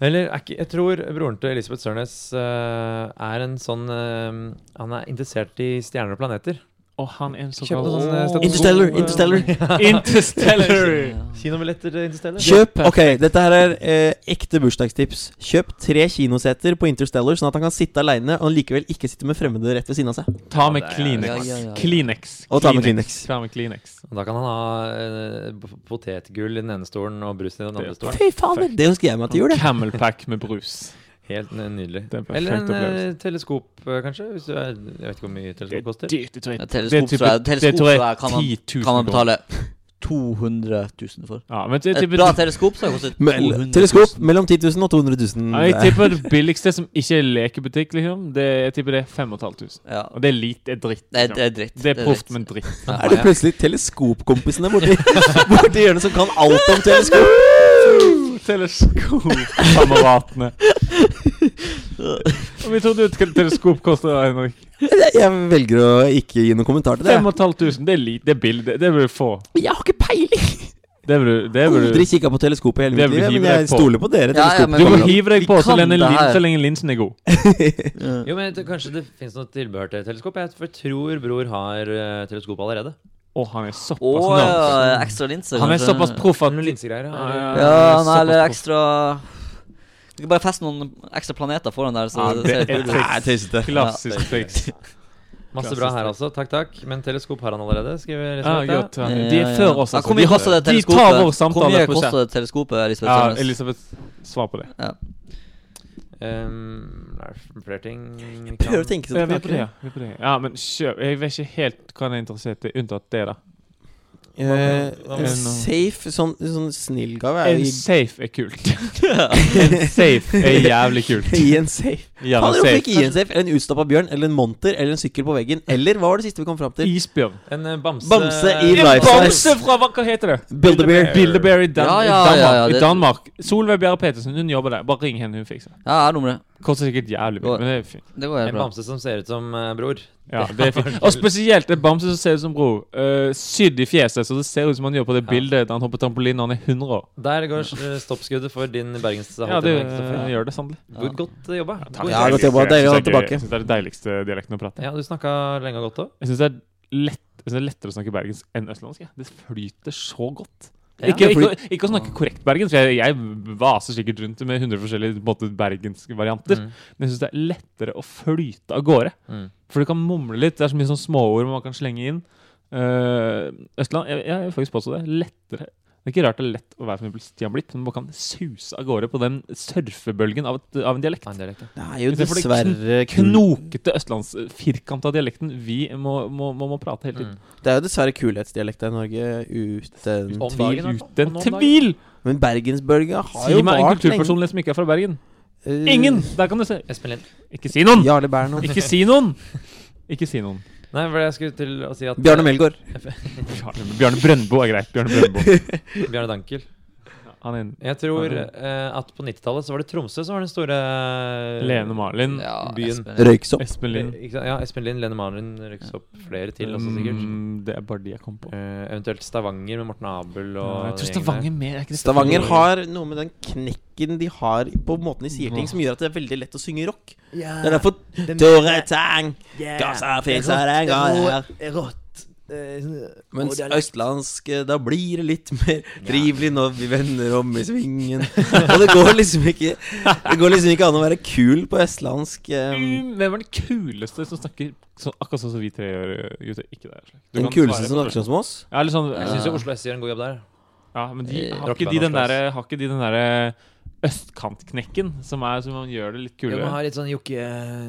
Eller er ikke, jeg tror broren til Elisabeth Sørnes eh, er en sånn eh, Han er interessert i stjerner og planeter. Og han er en Oh. så Kjøp noe sånn eh, gammel. stetoskop, Interstellar, eh, Interstellar. Interstellary! Ja. Kinobilletter til Interstellar. Kjøp, ok, dette her er eh, ekte bursdagstips. Kjøp tre kinoseter på Interstellar, sånn at han kan sitte aleine og likevel ikke sitte med fremmede rett ved siden av seg. Ta med Ja, det er- Ja, ja, Kleenex. ja, ja. Kleenex. Og ta med Kleenex. Ta med Kleenex. Da kan han ha eh, p- potetgull i den ene stolen og brus i den andre Det- stolen. Fy fader, det ønsker jeg meg at de gjorde. Camel pack med brus. Helt n- nydelig. Det er en perfekt Eller en eh, opplevelse. teleskop, eh, kanskje. Hvis du er, jeg vet ikke hvor mye teleskop koster. dyrt, det tror jeg. Ja, Det er Teleskop type- fra, det teleskop tror jeg fra kan, man, 10 000 kan man kroner. betale 200 000 for. Ja, men jeg Et tipper, bra teleskop skal koste 200 Mell- 000. Teleskop mellom 10 000 og 200 000. ja, jeg tipper det billigste som ikke er lekebutikk, liksom, det, jeg tipper det er 5500. Ja. Og det er lite, det er dritt. Nei, liksom. det er dritt. Det er proft, dritt. men dritt. Ja. Er det plutselig teleskopkompisene borti, borti hjørnet som kan alt om teleskop? Teleskopkameratene. Og vi trodde jo et teleskop koster Henrik. Jeg, jeg velger å ikke gi noen kommentar til det. 5500, det er lite, det er billig, det- det vil du få. Jeg har ikke peiling! Det vil du, det vil du. Aldri kikka på teleskop i hele Det mitt vil liv, hive men jeg deg på. stoler på dere. Ja, ja, men- Du må teleskopkamerat. hive deg Vi på så kan lenge, det lin, her. så lenge linsen er god. Ja. Jo, men jeg tror Kanskje det fins noe tilbehør til teleskop? Jeg for jeg tror bror har eh, teleskop allerede. Å, han er såpass Å nerd. ja, ekstra linser. Han er kanskje. såpass proff at Noen linsegreier. ja, Ja, eller- ja, Ja, såpass nei, eller proff. ekstra Du kan bare feste noen ekstra planeter foran der. Så Ja, det det ser er litt kul ut. Nei, tøysete. Klassisk triks. Masse bra her altså. Takk, takk. Men teleskop har han allerede, skriver Ja, Elisabeth. godt. Ja. eh, De er før oss, Ja, altså. hvor mye kosta det de teleskopet? tar vår Hvor samtale mye på kosta skjerm. det teleskopet, Elisabeth Ja, Selnes? Elisabeth, svar på det. Ehm, det er flere ting vi kan- Prøv å tenke Ja, seg Eh, vi er på det, ja. Vi er på det. ja, men kjøp Jeg vet ikke helt hva han er interessert i, unntatt det, da. Eh, med- Hva en safe, sånn, sånn snill gave er En jo safe er kult. en safe er jævlig kult. gi gi en safe. Gjerne Fader, hvorfor safe. ikke gi en safe? Eller en utstappa bjørn? Eller en monter? Eller en sykkel på veggen? Eller hva var det siste vi kom fram til? Isbjørn. En eh, bamse Bamse i En life bamse fra hva, hva heter det? Build-a-bear. Bilderberg i, Dan Ja, ja, i Danmark. ja, ja, I det- Danmark. Solveig Bjerre Petersen, hun jobber der. Bare ring henne, hun fikser det. Ja, jeg har nummeret. Koster sikkert jævlig mye, Ja. men det er fint. Det går En helt bra. bamse som ser ut som eh, bror. Ja, det er fint. Og spesielt en bamse som ser ut som bror. Eh, sydd i fjeset, så det ser ut som han gjør på det Ja. bildet da han hopper trampoline når han er 100 år. Der går eh, stoppskuddet for din bergenshalt. Ja, det i dag, Kristoffer. eh, gjør det sannelig. Hvor Godt eh, jobba. takk. Ja, godt jobba. Deilig å ha deg tilbake. Jeg synes det er det deiligste dialekten å prate. Ja, du snakka lenge og godt òg. Jeg syns det er lett jeg synes det er lettere å snakke bergensk enn østlandsk. jeg. Det flyter så godt. Ja. Ikke, ikke, fordi- ikke å snakke korrekt bergensk, for jeg, jeg vaser sikkert rundt med 100 forskjellige på en måte, bergenske varianter. Men jeg syns det er lettere å flyte av gårde. Mm. For du kan mumle litt. Det er så mye sånn småord man kan slenge inn. Eh, Østland jeg, jeg vil faktisk påstå det. Lettere. Det er ikke rart det er lett å være som Stian Blipp, men man kan suse av gårde på den surfebølgen av, et, av en dialekt. En dialekt, ja. Det er jo Det er fordi dessverre kul Knokete østlandsfirkanta dialekten vi må, må, må, må prate hele tiden. Mm. Det er jo dessverre kulhetsdialekter i Norge uten Om tvil. dagen, i hvert fall. Uten Om noen tvil! Men bergensbølga har Si meg jo en vart lenge. kulturpersonlighet som ikke er fra Bergen. Eh, Ingen! Der kan du se. dager. Espen Lind. Ikke si noen! Jarle Bernhoft. Ikke si noen! Ikke si noen. Nei, for jeg skulle til å si at Bjarne Melgaard. Bjarne, Bjarne Brøndbo er greit. Bjarne Brøndbo. Bjarne Dankel. Han er en Jeg tror Ja. eh, at på 90-tallet så var det Tromsø som var den store Lene Marlin. Ja, byen. Espen. Røyksopp. Espen Lind. Ikke sant? Ja, Espen Lind, Lene Marlin røykes opp flere til også, sikkert. Mm, det er bare de jeg kom på. Eh, eventuelt Stavanger med Morten Abel Ja, og jeg tror den Stavanger gjengen mer er ikke det Stavanger har noe med den knekken de har på måten de sier ting, Åh. som gjør at det er veldig lett å synge rock. Det er derfor Tore Tang Gassa fikser den gang her. Mens østlandsk eh, Da blir det litt mer trivelig når vi vender om i svingen. Og det går liksom ikke Det går liksom ikke an å være kul på østlandsk. eh, Mm, Hvem er den kuleste som snakker sånn, akkurat sånn som vi tre gjør? Jute? Ikke det. Aslak. Du Den kan kuleste svare som på snakker sånn som oss. Ja, eller sånn, der. Jeg syns jo Oslo S gjør en god jobb der. ja, men de, Eh, har, ikke de rockeband den Oslo S. derre- har ikke de den derre østkantknekken som er som man gjør det litt Jo, kulere? man har litt sånn jokke...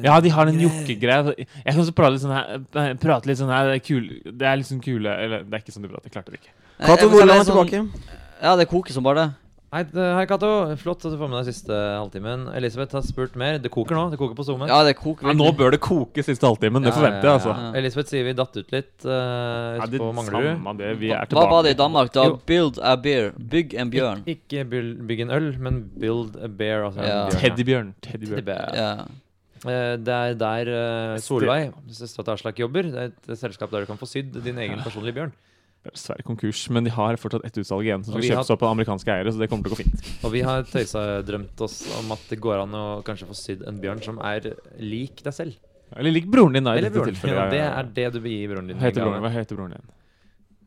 Ja, de har den jokkegreia. Jeg kan også prate litt sånn her, eh, prate litt sånn her det er kul, Det er litt sånn kule Eller det er ikke sånn du prater. Jeg klarte det ikke. Cato Jeg må si Hvordan det er sånn- tilbake? Ja, det koker som bare det. Hei, d- hei, Cato. Flott at du får med deg siste halvtimen. Elisabeth har spurt mer. Det koker nå. Det koker på zoomen. Ja, det koker Ja, nå bør det koke siste halvtimen. Det Ja, forventer ja, jeg, ja. altså. ja. Elisabeth sier vi datt ut litt eh, Ja, det på Manglerud. samme det. Vi er Hva var det i tilbake. Danmark? da? Jo. Build a beer. Bygg en bjørn. Ik ikke byll- bygg en øl, men build a bear. Altså, en Ja. bjørn, Teddybjørn. Teddybjørn. Teddybjørn. Ja. Eh, Det er der eh, Solveig, søstera til Aslak, jobber. Det er et selskap der du kan få sydd din egen personlige bjørn. Det er Dessverre konkurs, men de har fortsatt ett utsalg igjen. Som skal Og vi har- kjøpes opp av amerikanske eiere, så det kommer til å gå fint. Og vi har tøysa drømt oss om at det går an å kanskje få sydd en bjørn som er lik deg selv. Eller lik broren din, da. i Eller dette broren din. tilfellet. og Det er det du vil gi broren din. Hva heter i broren, gave. hva heter broren din?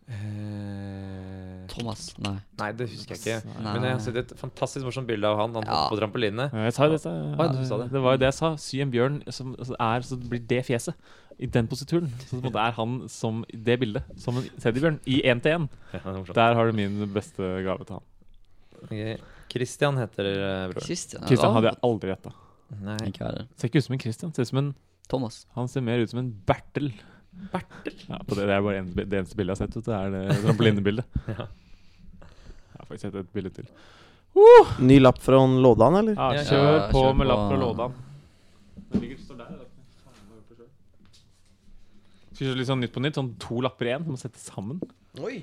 Eh, Thomas. Nei. Nei, det husker jeg ikke. Nei. Men jeg har sett et fantastisk morsomt bilde av han. Han Ja. hoppet på trampoline. Eh, Jeg sa jo dette. Oi, du sa det. det var jo det jeg sa. Sy en bjørn som som er Så blir det fjeset. I den posituren. Så på en måte er han som det bildet. Som en teddybjørn. I én til én. Ja, det er morsomt. Der har du min beste gave til han. Ok. Christian heter eh, broren. Christian. ja, Christian da- hadde jeg aldri gjetta. Nei. Ikke heller. Ser ikke ut som en Christian. Ser ut som en, Thomas. han ser mer ut som en Bertel. Bertel? Ja, på det, det er bare en, det eneste bildet jeg har sett. vet du. Det er det trampolinebildet. Ja. Jeg har faktisk sett et bilde til. Ny lapp fra han Lådan, eller? Ja, Ja, kjør ja, på kjør med på. lapp fra Lådan. Den ligger står der. Skal vi kjøre litt sånn Nytt på nytt? Sånn to lapper i én? Må sette sammen? Oi.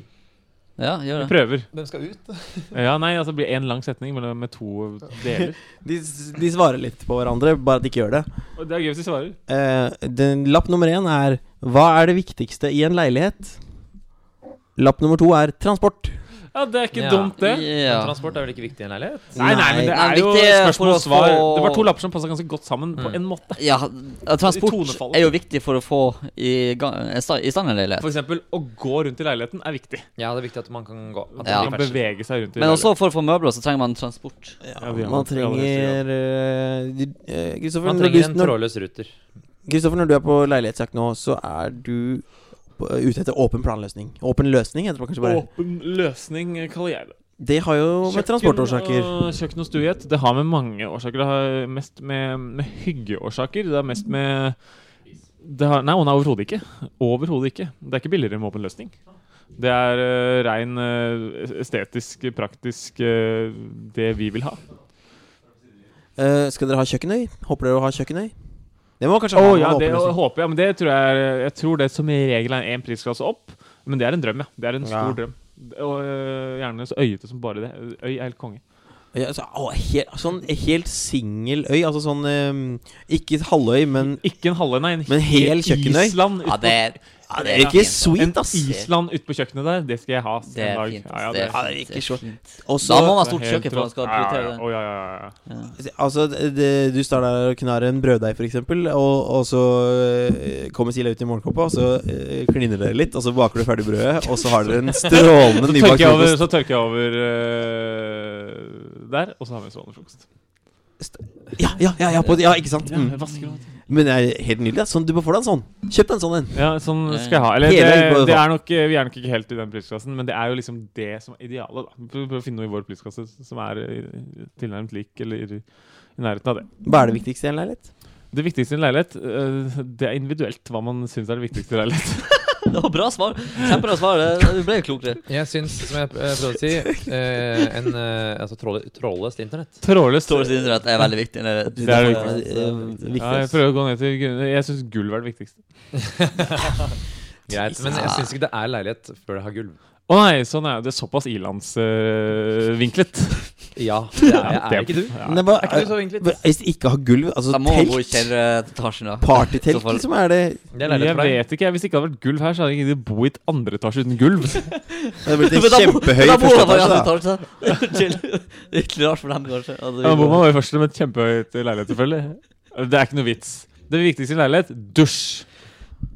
Ja, gjør det. Prøver. Hvem skal ut? Ja, nei, altså det blir én lang setning men med to deler. De, s- de svarer litt på hverandre, bare at de ikke gjør det. Og det er gøy hvis de svarer. Eh, den, lapp nummer én er Hva er det viktigste i en leilighet? Lapp nummer to er transport. Ja, det er ikke Ja. dumt, det. Ja. Transport er vel ikke viktig i en leilighet? Nei, nei, men det Nei, er jo viktig for spørsmål og å svar. få- Det var to lapper som passa ganske godt sammen på Mm. en måte. Ja, transport tonefallet. er jo viktig for å få i, gang, i sta- i stand en For leilighet. eksempel, å gå rundt i leiligheten er viktig. Ja, det er viktig at man kan gå. At Man Ja. man kan blir ferdsel. bevege seg rundt i Men også for å få møbler så trenger man transport. Ja, vi har man det allerede, trenger eh, de- eh, Kristoffer, Man når du- trenger en når- trådløs ruter. Kristoffer, når du er på leilighetsjakt nå, så er du på- eh, ute etter åpen planløsning. Åpen løsning heter det kanskje bare. Åpen løsning eh, kaller jeg det. Det har jo med transportårsaker. og, kjøkken og stuegjett. Det har med mange årsaker. Det har mest med, med hyggeårsaker. Det er mest med det har, Nei, og nei, overhodet ikke. Overhodet ikke. Det er ikke billigere med åpen løsning. Det er eh, rein eh, estetisk, praktisk eh, det vi vil ha. Eh, skal dere ha kjøkkenøy? Håper dere å ha kjøkkenøy? Det må kanskje Å ha med ja, det åpen løsning. håper jeg. Men det tror jeg, er- jeg tror det som regel er én prisklasse opp. Men det er en drøm, ja. Det er en stor Ja. drøm. Og eh, gjerne så øyete som bare det. Øy er helt konge. Ja, altså, å, he- sånn helt singeløy. Altså sånn eh, Ikke halvøy, men Ikke en halve, nei. En Men hel kjøkkenøy? Island Ja, utpå- det, ja, Det virker fint. En sweet, ass! Island ute på kjøkkenet der, det skal jeg ha. Det en er dag. fint. Ja, ja, ass. det Det er Ja, det er virker fint. så- fint. Og Da må man så ha stort helt kjøkken for man rått. skal Ja, ja, prioritere det. ja, ja, ja, ja. Ja. Altså, det, du står der og knar en brøddeig, f.eks., og, og så eh, kommer Silja ut i morgenkåpa, og så eh, kliner dere litt, og så baker du ferdig brødet, og så har dere en Så tørker strålende nybakt jeg over, frokost. så tørker jeg over øh, der, og så har vi en strålende frokost. Ja, ja, ja, ja, på, ja, ikke sant? Ja, Mm. jeg vasker den. Men det er helt nydelig. ass. Sånn, du må få deg en sånn. Kjøp deg en sånn en. ja, sånn skal jeg ha. Eller Hele det, på det det sånn. er nok, eh, vi er nok ikke helt i den prisklassen, men det er jo liksom det som er idealet. da Prøv prøv å finne noe i vår prisklasse som er øh, tilnærmet lik eller i nærheten av det. Hva er det viktigste i en leilighet? Det viktigste i en leilighet, øh, det er individuelt hva man syns er det viktigste i en leilighet. Det var bra svar. Kjempebra svar. det- Du ble jo klokere. Jeg syns, som jeg eh, prøvde å si, eh, en, eh, altså trådlø- trådløst internett. Trådløst. Storets idrett er veldig viktig. eller- Det er det Ja, viktigste. det er viktig. Ja, jeg prøver å gå ned til grunnen. Jeg syns gulv er det viktigste. Greit, men jeg syns ikke det er leilighet før det har gulv. Å nei, sånn er det. er Såpass ilandsvinklet. Ja, det er, jeg, er ikke du. Nei, hva- Er ikke du så vinklet? Hvis de ikke har gulv, altså Da må man bo i telt kjelleretasjen, da. Partytelt, Så får- liksom, er det Det er Jeg leilighet for deg. vet ikke, jeg. Hvis det ikke hadde vært gulv her, så hadde jeg ikke giddet bo i et andre etasje uten gulv. Det er blitt en Men da bo- kjempehøy da bor første han bare i etasje, andre da. etasje, da. Chill. Litt rart for dem, kanskje. at det- Ja, Bor man bare i første med et kjempehøyt leilighet, selvfølgelig. Det er ikke noe vits. Det viktigste i en leilighet dusj.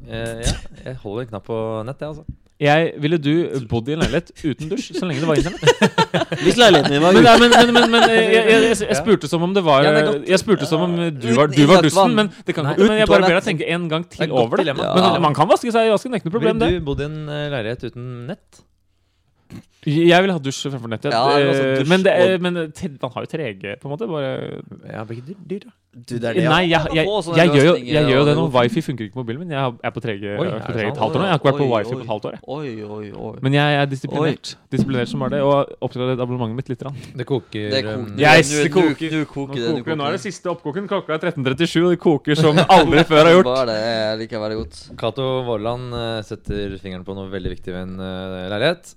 Eh, ja, jeg holder en knapp på nett, jeg, altså. Jeg ville du bodd i en leilighet uten dusj, så lenge det var internett. Hvis leiligheten din var Men, ute nei, men, men, men, men jeg, jeg, jeg, jeg spurte som om det var Ja, det er godt. Jeg spurte som om du var, Uten du var innlagt dusten, vann. men det kan Nei. ikke Men jeg bare ber deg Uten tenke en gang Det er et til godt over det. dilemma. Ja. Men man kan vaske seg i vasken, det er ikke noe problem, det. Ville du bodd i en eh, leilighet uten nett? Jeg vil ha dusj fremfor nett. Ja. Ja, det er også Eh, dusj men det, og- eh, men te- man har jo 3G, på en måte. Bare Ja, blir ikke dyr, dyr, da. Du, det er det, ja. Nei, jeg, jeg, Få sånne jeg, gjør jo, løsninger, jeg gjør jo og det det nå. går fint. Wifi funker ikke på mobilen min. Jeg er på 3G, jeg er på Oi, er det 3G i sant? et halvt år nå. Jeg har ikke vært på Oi, wifi på oi. et halvt år. jeg. Oi, oi, oi. Men jeg er disiplinert Disiplinert som bare det. Og oppgradert abonnementet mitt litt. Rann. Det koker Det koker. eh, Yes, Nå- det nå- koker. Nå, Nå koker det. koker, det. nå er det siste oppkoken. Klokka er 13.37, og det koker som aldri før har gjort. Bare det jeg liker jeg veldig godt. Cato Vårland eh, setter fingeren på noe veldig viktig ved en eh, leilighet.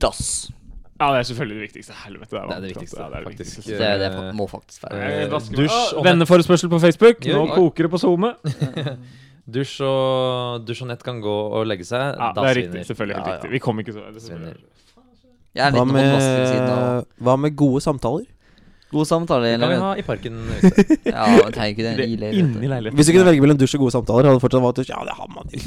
Dass. Ja, det er selvfølgelig det viktigste. Helvete, det er Det er det vanskelig, viktigste, altså. det er det faktisk. viktigste. Det, det fa- må faktisk være Eh, vaske- dusj Å, og Venneforespørsel på Facebook. Jo, Nå oi. koker det på SoMe. Dusj og, dusj og nett kan gå og legge seg. Ja, det da er riktig. svinner. Selvfølgelig helt Ja, ja. riktig. Vi kom ikke så det er selvfølgelig. Svinner. Jeg er Hva litt håndvask ved siden av. med, hva med gode samtaler? God samtale i Det kan vi landet. ha i parken. Øystein. Ja, men tenk ikke det Det i er leiligheten. Inni leiligheten. Hvis du kunne velge mellom dusj og gode samtaler, hadde det fortsatt vært dusj? Ja, det har man jo.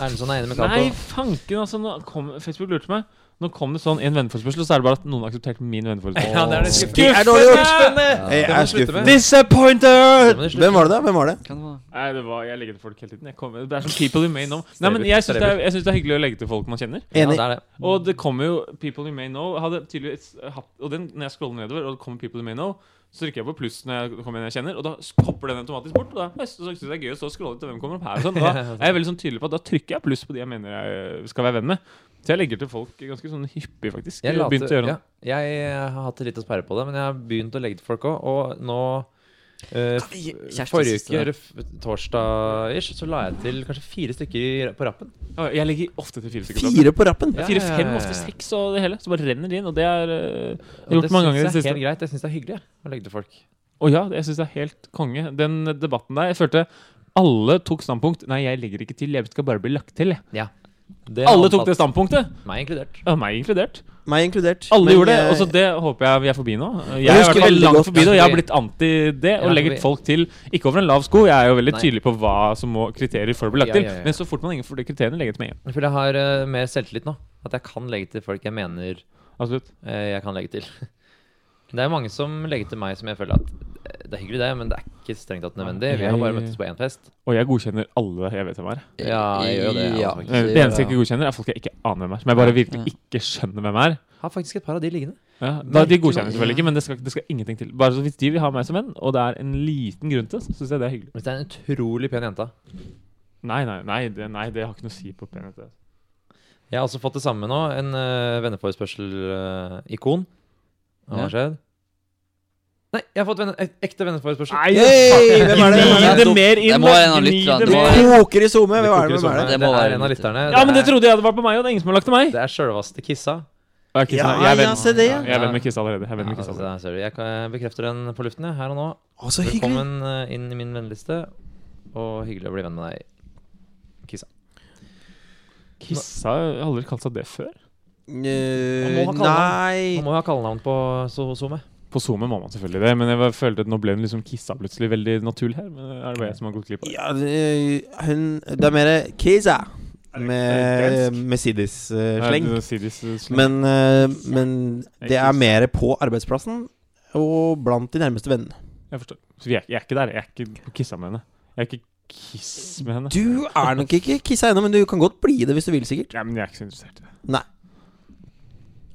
Ernesson er enig med Cato. Nei, fanken, altså. Nå kom, Facebook lurte meg. Nå kom det sånn en venneforespørsel, og så er det bare at noen har akseptert min venneforespørsel. Ja, det er det Det skuffende. er dårlig gjort. skuffende! Jeg Det må er du slutte skuffet. med. Det Disappointed! må du slutte Hvem var det, da? Hvem var det? Kan det være? Nei, det var, jeg legger til folk hele tiden. Jeg kommer, det er sånn people you may know. Nei, men jeg syns det, er- jeg synes det er hyggelig å legge til folk man kjenner. Ja, Enig. det er det. Og det kommer jo people you may know. Hadde tydeligvis hatt, og den, når jeg scroller nedover, og det kommer people you may know, så trykker jeg på pluss når jeg kommer en jeg kjenner, og da hopper den automatisk bort. Og da jeg synes jeg det er gøy å stå og scrolle til hvem kommer opp her. Og sånn. Og da er jeg veldig sånn tydelig på at da trykker jeg pluss på de jeg mener jeg skal være venn med. Så jeg legger til folk ganske sånn hyppig, faktisk. Jeg, Jeg har later- begynt å gjøre det. ja, jeg eh, har hatt litt å sperre på det, men jeg har begynt å legge til folk òg. Og nå eh, f- Kjæreste Forrige siste der. uke, f- torsdag-ish, så la jeg til kanskje fire stykker på rappen. Ja, Jeg legger ofte til fire stykker. på Fire på rappen. plass. Ja, Fire, ja, ja, fem, ja. ofte seks og det hele. Så bare renner det inn. Og det er øh, Jeg har Og gjort det mange ganger i synes det jeg er siste. helt greit. Jeg syns det er hyggelig jeg, å legge til folk. Og ja, jeg syns det er helt konge. Den debatten der, jeg følte alle tok standpunkt. Nei, jeg legger ikke til, jeg skal bare bli lagt til. jeg. Det har Alle han tok det tatt, standpunktet! Meg inkludert. Ja, meg inkludert. Meg inkludert. Alle Men eh, gjorde det. jeg- Og så det håper jeg vi er forbi nå. Jeg er Jeg i hvert husker fall veldig langt godt- forbi det, og jeg har blitt anti det. Og Ja, legger forbi. folk til ikke over en lav sko. Jeg er jo veldig Nei. tydelig på hva som må kriterier for å bli lagt Ja, ja, til. ja. Men så fort man innenfor de kriteriene, legger jeg til med en. For jeg har eh, mer selvtillit nå. At jeg kan legge til folk jeg mener Absolutt. eh, jeg kan legge til. Det er mange som legger til meg som jeg føler at eh, Det er hyggelig, det, men det er ikke strengt tatt nødvendig. Vi har bare møttes på én fest. Og jeg godkjenner alle jeg vet hvem er. Ja, jeg gjør det, Ja, altså, Eh, det Det eneste jeg gjør jeg. ikke godkjenner, er folk jeg ikke aner hvem er. Som jeg bare Ja. virkelig ikke skjønner hvem er. Har faktisk et par av de liggende. Ja, da, de Merkelig godkjenner nok. selvfølgelig ikke, men det skal, det skal ingenting til. Bare så hvis de vil ha meg som venn, og det er en liten grunn til det, så syns jeg det er hyggelig. Hvis det er en utrolig pen jente. Nei, nei, nei, det, nei, det har ikke noe å si på penhet. det. Jeg har også fått det samme nå. En uh, venneforespørsel-ikon. Hva Ja. har skjedd? Nei, jeg har fått venne, ek- ekte venneforespørsel. Nei, Hey, hvem er det? Gni Hvem er det det? mer inn! Det må da. være en av Gni lytterne, det det må mer være- inn. Det koker i SoMe! Hvem er koker det? Hvem er det? i sommer. Det må Det være er en av litt- lytterne. Ja, men det trodde jeg det var på meg, og det er ingen som har lagt til meg. Det er sjølvaste Kissa. Ja, Kiss, Ja, nei, jeg er venn, ja, se det, ja. Jeg er venn med Kiss allerede. Jeg er venn med Kiss altså, allerede. der ser du. Jeg kan- bekrefter den på luften, jeg, her og nå. Å, så hyggelig! Velkommen eh, inn i min venneliste, og hyggelig å bli venn med deg, Kissa. Kissa har aldri kalt seg det før. Eh, Man må ha Nå Nei må vi ha kallenavn på SoMe. På SoMe må man selvfølgelig det, men jeg var- følte at nå ble hun liksom Kissa plutselig veldig naturlig her. Men er det bare jeg som har gått glipp av det? ja, det- Hun Det er mer Kiza Er det med Mercedes-sleng. Nei, det- Sidis, eh, sleng. Men, eh, men det er mer på arbeidsplassen og blant de nærmeste vennene. Jeg forstår. Så vi er, jeg er ikke der. Jeg er ikke på Kissa med henne. Jeg er ikke Kiss med henne. Du er nok ikke kissa ennå, men du kan godt bli det hvis du vil, sikkert. Nei, men jeg er ikke så interessert i det. Nei.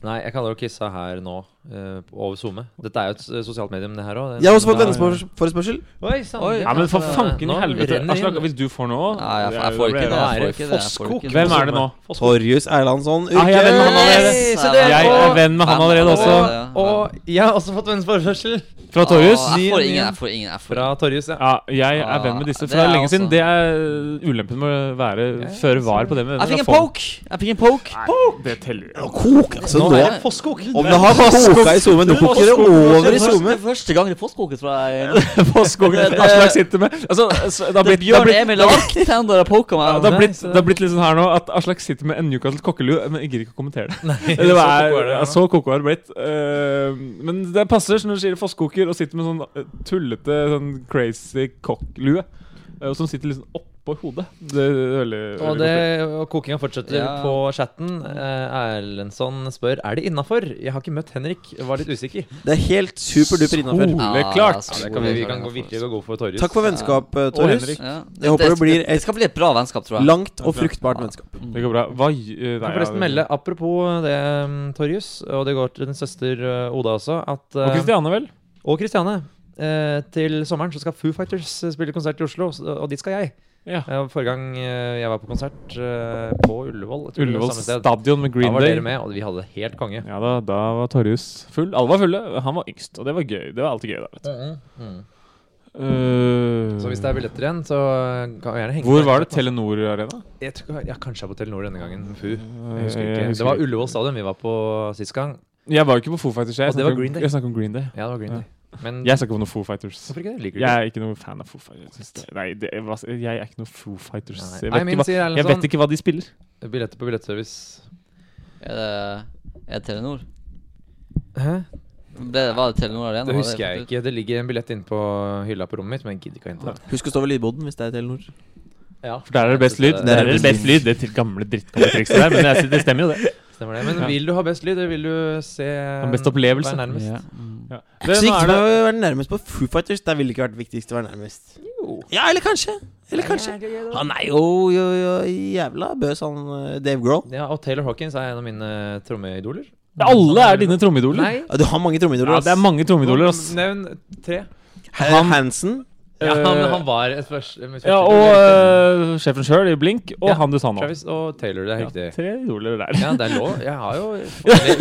Nei, jeg kaller jo Kissa her nå, eh, over SoMe. Dette er jo et eh, sosialt medium, det her òg. Jeg har også fått Nei. venneforespørsel. Oi, sant. Oi. Ja, men for altså, Nå fanken i helvete. Altså, renner det inn. Aslak, hvis du får noe Nei, jeg, jeg det- får det ikke blir- det. Jeg Da får er det ikke det. Jeg får ikke det. Hvem er det nå? Torjus sånn, Erlandsson Ah, jeg er venn med han allerede. Yes, Yes, se det. Jeg er venn med han allerede altså. også. Og, og jeg har også fått venneforespørsel. Fra Torjus. Åh, Jeg Ny- får ny- ingen, jeg får ingen. Jeg får Fra Torjus, ja. Ja, jeg er venn med disse Ah, det fra er lenge siden. også. Det er uh, ulempen med å være før var på det med sånn. Jeg fikk en Få- poke! Jeg fikk en poke. Nei, det teller jo. Kok, altså nå er det Fosskok. Om det har koka i SoMe, nå koker det over i SoMe. Første, første gang det postkoket, tror jeg. Fosskogen Det- det- Aslak sitter med Altså, så det har Det blitt, det har Bjørn blitt, Emil Arktander har poka meg. det har blitt, Nei, så- det har blitt litt sånn her nå at Aslak sitter med en Newcastle kokkelue, men jeg gidder ikke å kommentere det. Det så var, koko er det, ja. ja, så koko har det blitt. Eh, men det passer når du sier fosskoker og sitter med sånn eh, tullete, sånn crazy kokklue, eh, som sitter liksom oppå hodet. Det er veldig, veldig Og, det, og kokinga fortsetter Ja. på chatten. Eh, Erlendsson spør Er det innafor. Jeg har ikke møtt Henrik. Var litt usikker. Det er helt superduper innafor. Soleklart. Ja, altså, Ja, det kan vi, vi kan gå virkelig gå god for Torjus. Takk for vennskap, eh, Og Torjus. Henrik. Ja. Jeg håper det blir Det et skal bli et bra vennskap, tror jeg. langt og fruktbart vennskap. Det går bra. Hva gj- eh, Jeg nei, kan forresten ja, melde, det- apropos det, mm, Torjus, og det går til din søster eh, Oda også, at Og eh, Kristiane, vel? Og Christiane. Eh, til sommeren så skal Foo Fighters eh, spille konsert i Oslo, s- og dit skal jeg. Ja. Eh, forrige gang eh, jeg var på konsert eh, på Ullevål jeg tror det var Ullevål samme sted. stadion med Da Green var Day. dere med, og vi hadde det helt konge. Ja da, da var Torjus full. Alle var fulle. Han var yngst, og det var gøy. Det var alltid gøy. da, vet du. mm, Eh, Så hvis det er billetter igjen, så eh, kan vi gjerne henge Hvor var det? Telenor Arena? Jeg tror, ja, kanskje jeg er på Telenor denne gangen. Fu. Jeg Jeg husker ikke. Eh, jeg det var Ullevål stadion vi var på sist gang. Jeg var jo ikke på Foo Fighters. Jeg Og det snakker var om- Green Day. Jeg snakker om Green Day. Ja, det var Green Day. Men Jeg snakker om noe Foo Fighters. hvorfor ikke det? Liker du Jeg ikke? er ikke noen fan av Foo Fighters. Jeg synes det- Nei, det, jeg, var- jeg er ikke noen Foo Fighters. Nei, nei. Jeg Nei, vet, min ikke hva, sier sånn- jeg Erlendsson. vet ikke hva de spiller. Billetter på billettservice. Er det, er det Telenor? Hæ? Ble, var det Telenor Arena? Det Var husker jeg ikke. Det ligger en billett inne på hylla på rommet mitt, men jeg gidder ikke å hente den. Husk å stå ved lydboden hvis det er Telenor. Ja, For der er det best lyd. Der er det best lyd. Det til gamle drittkommetrikset der, men jeg synes det stemmer jo, det. Stemmer det. Men Ja. vil du ha best lyd, eller vil du se Den beste opplevelse. Være nærmest? Ja. Ja. Det er Det, så nå viktig er å det, være nærmest på Foo Fighters. Der ville det ikke vært viktigst å være nærmest. Ja, eller kanskje. Eller kanskje. Han er jo, jo, jo jævla bøs, han eh, Dave Grohl. Ja, og Taylor Hawkins er en av mine trommeidoler. alle er dine trommeidoler. Nei. Ja, Du har mange trommedoler, Ja, det er mange trommeidoler, ass. Nevn tre. Han, Hansen. Ja, han, Eh, han var et først, mitt første Ja, og idol. øh, sjefen sjøl i Blink, og Ja, han du sa nå. eh, Travis og Taylor, det er Ja, riktig. tre idoler der. Ja, det er lov. Jeg har jo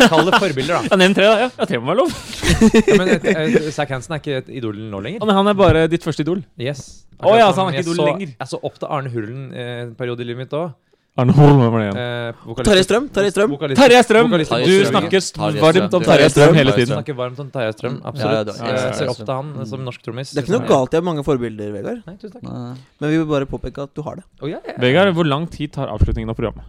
Kall det forbilder, da. Ja, Nevn tre, da. Ja, ja, tre må være lov. Ja, men et, et, Zack Hansen er ikke et idol nå lenger. Ja, men han er bare ditt første idol. Yes. Å ja, så han er Akkurat som ikke jeg idol så- lenger. Jeg så opp til Arne Hullen eh, en periode i livet mitt Eh, òg. Arne Holm hvem var det igjen. Eh, Terje Strøm. Terje Strøm. Terje Strøm! Vokalisten. Du Terje Strøm. snakker Terje varmt om Strøm. Terje Strøm hele Jeg tiden. snakker varmt om Terje Strøm. Ja, ja, Absolutt. det- Jeg ja, ser ja, opp til han eh, som norsk trommis. Det er ikke noe galt i å ha mange forbilder, Vegard. Nei, tusen takk. Nei. Men vi vil bare påpeke at du har det. Å, ja, ja. Vegard, hvor lang tid tar avslutningen av programmet?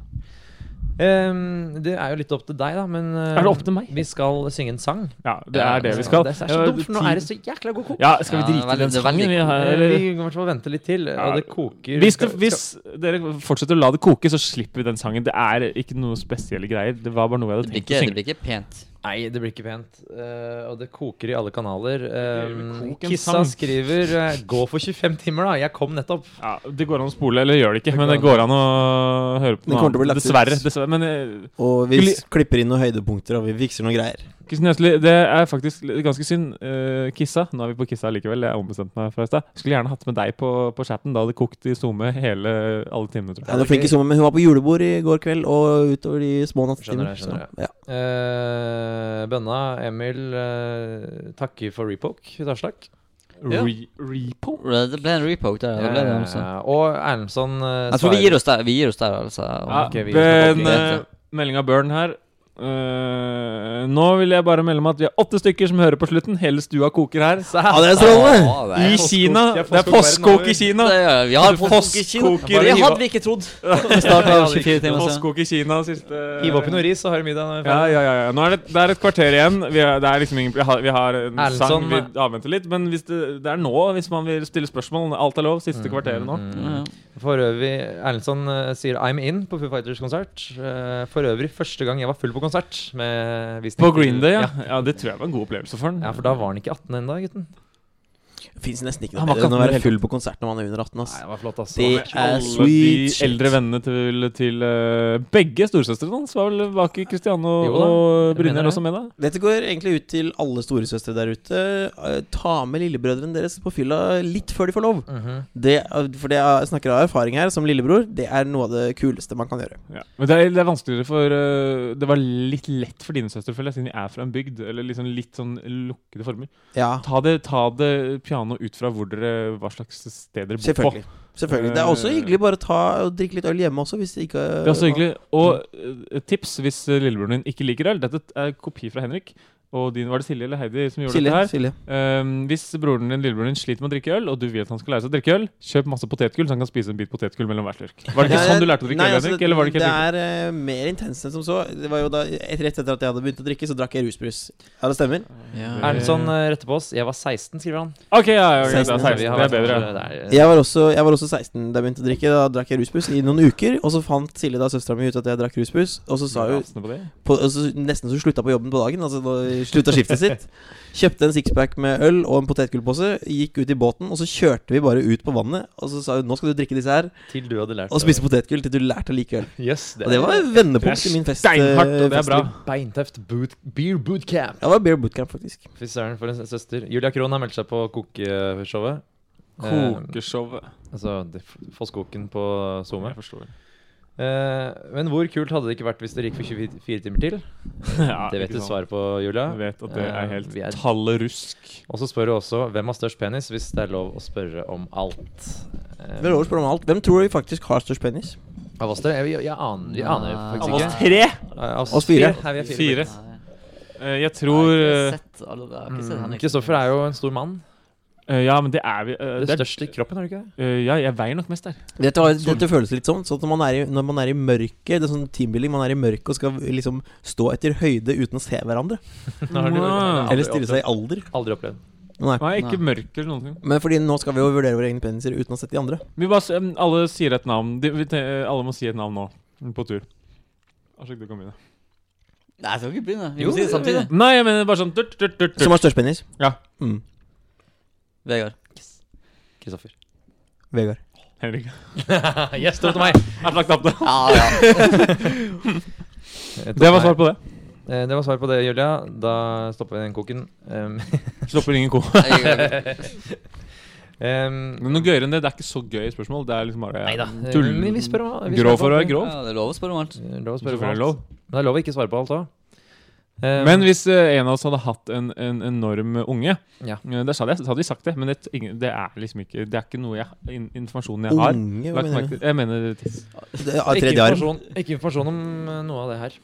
Ehm, det er jo litt opp til deg, da, men eh, Er det opp til meg? Vi skal synge en sang. Ja, det er det vi skal. Det er så dumt, for nå er det så jækla god kok. Ja, skal vi Ja, drite i veldig- den det er veldig sangen vi har? Eh, eller? Vi kan i hvert fall vente litt til, Ja. og det koker. Hvis, det, Skal- hvis skal- dere fortsetter å la det koke, så slipper vi den sangen. Det er ikke noe spesielle greier. Det var bare noe jeg Det hadde tenkt blir å ikke, det synge. blir ikke pent. Nei, det blir ikke pent. Eh, og det koker i alle kanaler. Eh, Kok en Kissa sang. skriver eh, 'Gå for 25 timer', da. Jeg kom nettopp. Ja, det går an å spole, eller gjør det ikke, men det går an å høre på Den noe kommer til å bli annet. lagt ut. Dessverre. dessverre men eh, Og vi Skulle- s- klipper inn noen høydepunkter, og vi fikser noen greier. Kristin Gjøsli, det er faktisk litt- ganske synd. Eh, Kissa, nå er vi på Kissa likevel, jeg ombestemte meg fra i stad. Skulle gjerne hatt med deg på, på chatten, da hadde det kokt i SoMe hele alle timene, tror jeg. Ja, det er flink i sommer, men hun var på julebord i går kveld og utover de små nattetimer. Skjønner jeg, skjønner så, ja. Eh, Bønna, Emil, eh, takker for repoke. Takk. Ja. Re repo? Det ble en repoke der. Det ble det også. Eh, og Erlendsson eh, Jeg tror vi gir oss der, vi gir oss der altså. Ja, Om- ok, vi skal men gå til- eh, melding av Burn her. Eh, nå vil jeg bare melde om at vi er åtte stykker som hører på slutten. Hele stua koker her. ja, Ah, det er strålende! Ja, det er- I postkok- Kina! det er Det er postkok postkok i Kina! Det er- Vi har postkok i Kina. Postkok i Det Kina. hadde vi ikke trodd. Vi startet 24 timer siden. Postkok i Kina siste Hiv oppi noe ris, så har du middag. når vi er Ja, ferdig. ja, ja. ja. Nå er det, det er et kvarter igjen. Vi, er, det er liksom ingen, vi, har, vi har en Erlendsson- sang vi avventer litt. Men hvis det, det er nå, hvis man vil stille spørsmål. Alt er lov. Mm, Siste kvarteret nå. Ja, ja. For øvrig, Erlendsson eh, sier 'I'm in' på Foo Fighters-konsert. Eh, for øvrig første gang jeg var full på konsert. Med visning På til- Green Day, ja. ja. Det tror jeg var en god opplevelse for Ja, han. for da var han ikke 18 ennå, gutten. Det fins nesten ikke Han noe var bedre ikke enn å være helt- full på konsert når man er under 18. ass Nei, det var flott, altså. Det er Alle de sweet shit. eldre vennene til, til eh, begge storesøstrene hans var vel bak i Christiane og, Jo da, og jeg mener Brynjar det. også med, da. Dette går egentlig ut til alle storesøstre der ute. Eh, Ta med lillebrødrene deres på fylla litt før de får lov. Mhm. Det, er- for det er, jeg snakker av erfaring her, som lillebror, det er noe av det kuleste man kan gjøre. Ja. Men det er, det er vanskeligere for eh, Det var litt lett for dine søstre, føler jeg, siden de er fra en bygd. Eller liksom litt sånn lukkede former. Ja, Ta det, ta det piano ut fra hvor dere, hva slags sted dere bor på. selvfølgelig. Selvfølgelig. Det er også hyggelig bare å ta og drikke litt øl hjemme også, hvis det ikke Det er også hyggelig. Og eh, tips hvis eh, lillebroren din ikke liker øl. Dette er kopi fra Henrik. Og din, var det Silje eller Heidi som gjorde Silje. dette her? Silje. Ehm, hvis broren din, lillebroren din sliter med å drikke øl, og du vil at han skal lære seg å drikke øl, kjøp masse potetgull så han kan spise en bit potetgull mellom hver slurk. Var det ikke Nei, sånn du lærte å drikke nei, øl, altså, Henrik? Eller var det ikke det helt riktig? er eh, mer intenst enn som så. Det var jo da, et, Rett etter at jeg hadde begynt å drikke, så drakk jeg rusbrus. Ja, det stemmer. Ja. Erlendsson eh, retter på oss. 'Jeg var 16', skriver han. Ok, ja, ja, ok, det er 16, 16. Det er bedre. Ja. Jeg var også, jeg var også 16 da jeg begynte å drikke. Da drakk jeg rusbrus i noen uker. Og så fant Silje, da søstera mi, ut at jeg drakk rusbrus. Og så sa hun Rasende på det. på, og så nesten så slutta på jobben på dagen. Altså da slutta skiftet sitt. Kjøpte en sixpack med øl og en potetgullpose. Gikk ut i båten, og så kjørte vi bare ut på vannet. Og så sa hun nå skal du drikke disse her, Til du hadde lært og spise potetgull til du lærte å like øl. Yes, det, Og det var vendepunkt i min fest. Steinhardt, og det er bra. festliv. Beintøft boot, beer bootcamp. Ja, det var beer bootcamp, faktisk. Fy søren, for en s- søster. Julia Krohn har meldt seg på kokeshowet. Eh, Kokeshowet. altså det f- Fosskoken på SoMe. Jeg forstår. Eh, men hvor kult hadde det ikke vært hvis dere gikk for 24 timer til? Ja, det vet ikke du sant. svaret på, Julia. Jeg vet at det Eh, er helt vi er- tallerusk. Og så spør du også hvem har størst penis, hvis det er lov å spørre om alt. Eh, Vi har lov å spørre om alt. Hvem tror vi faktisk har størst penis? Av oss tre? Jeg, jeg, jeg aner, vi aner jo Nei. faktisk Av ikke. oss Tre! Eh, Av oss Oss fire. Her, vi er fire. Fire. Nei. Eh, Jeg Jeg tror har eh, ikke sett alle- jeg har ikke sett Mm, Henrik. Kristoffer er jo en stor mann. Eh, Ja, men det er vi. eh, Det det er- største i kroppen, er du ikke det? eh, ja, jeg veier nok mest der. Dette, var, dette føles litt sånn sånn at når man er i, når man er i mørket. Det er sånn teambuilding. Man er i mørket og skal liksom stå etter høyde uten å se hverandre. Nå har du- Wow. Eller stille seg i alder. Aldri opplevd. Nei. Nei, ikke mørk eller noen ting. Men fordi nå skal vi jo vurdere våre egne peniser uten å sette de andre. Vi bare, s- em, alle sier et navn. De, vi, te- eh, alle må si et navn nå, mm, på tur. Aslak, du kan begynne. Nei, jeg skal ikke begynne. Vi Jo, må si det samtidig. Nei, jeg mener bare sånn durt, durt, durt, Som durt. har størst penis? Ja. Mm. Vegard. Kristoffer. Vegard. Henrik. yes, det var til meg! Aslak tapte. Ja, ja. Det var svar på det. Eh, Det var svar på det, Julia. Da stopper vi den koken. Um, Slipper ingen ko. Jeg, um, Men Noe gøyere enn det. Det er ikke så gøy spørsmål. Det er liksom bare Nei da. tull. Men vi spør om vi Grov spør for å om være alt. grov. ja, det er lov å spørre om alt. Eh, Lov å spørre om Selvfølgelig er det alt. lov. Men det er lov å ikke svare på alt òg. Men hvis eh, en av oss hadde hatt en, en enorm unge, Ja. eh, der sa det, så hadde vi sagt det. Men det, ingen- det er liksom ikke Det er ikke noe jeg, in, informasjonen jeg har. Unge, hva Lagt merke mener du? til- Jeg mener tiss. Det- Av ikke, tredje arm. informasjon, ikke informasjon om eh, noe av det her.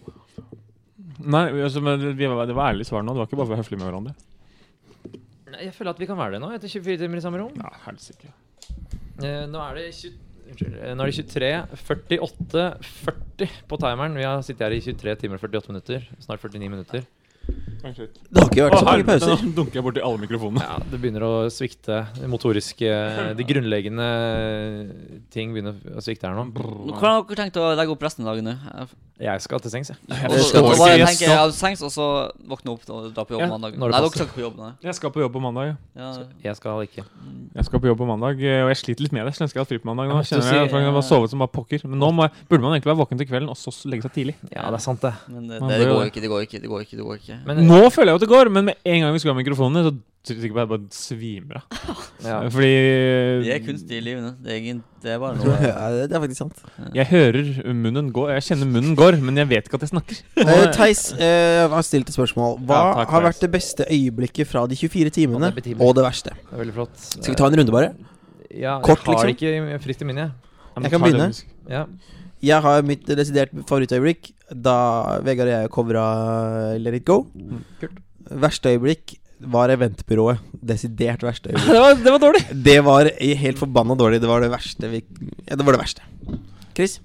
Nei, altså, men vi, var- det var ærlig svar nå. Det var ikke bare for å være høflig med hverandre. Nei, Jeg føler at vi kan være det nå, etter 24 timer i samme rom. Ja, helsike. Eh, nå er det 20, unnskyld, eh, nå er det 23, 48, 40 på timeren. Vi har sittet her i 23 timer og 48 minutter. Snart 49 minutter. Det har ikke vært så Å, mange helvete, pauser. Nå dunker jeg borti alle mikrofonene. Ja, det begynner å svikte. Det motoriske eh, De grunnleggende eh, ting begynner å svikte her nå. Nå, Hvordan har dere tenkt å legge opp resten av dagen nå? Jeg- Jeg skal til sengs, jeg. Og så- forstår og så bare ikke tenker jeg av sengs, og så våkne opp og dra på jobb Ja, mandag. Nei, når det dere passer. skal ikke på jobb, nei. Jeg skal på jobb på mandag. Ja, Jeg skal ikke. Jeg skal på jobb på mandag, eh, og jeg sliter litt med det. så Jeg ønsker jeg hadde fri på mandag nå. Jeg måtte Kjenner si- jeg at eh, jeg har sovet som bare pokker. Men nå må jeg, burde man egentlig være våken til kvelden, og så legge seg tidlig. Ja, det er sant, det. men det, Man det, bør det jo går det. ikke, det går ikke, det går ikke. det går ikke Men Nå føler jeg jo at det går, men med en gang vi skrur av mikrofonene, så tror jeg sikkert bare jeg bare svimer av. ja. Fordi Vi er kunstige i livet nå. Det er, ingen, det er bare noe Ja, det det er faktisk sant. eh, Jeg hører munnen gå, jeg kjenner munnen går, men jeg vet ikke at jeg snakker. Eh, Theis eh, har stilt et spørsmål. Hva Ja, takk, har Theis. vært det beste øyeblikket fra de 24 timene, Og det betimer. og det verste? Det er veldig flott. Skal vi ta en runde, bare? ja, kort, Jeg har liksom? det ikke i- friskt i minnet, jeg. Ja, men Jeg kan ta det begynne. musisk. Ja. Jeg har mitt desidert favorittøyeblikk da Vegard og jeg covra Let it go. kult. Verste øyeblikk var eventbyrået. Desidert verste øyeblikk. det, var, det var dårlig. Det var helt forbanna dårlig. Det var det verste vi Ja, det var det verste. Chris?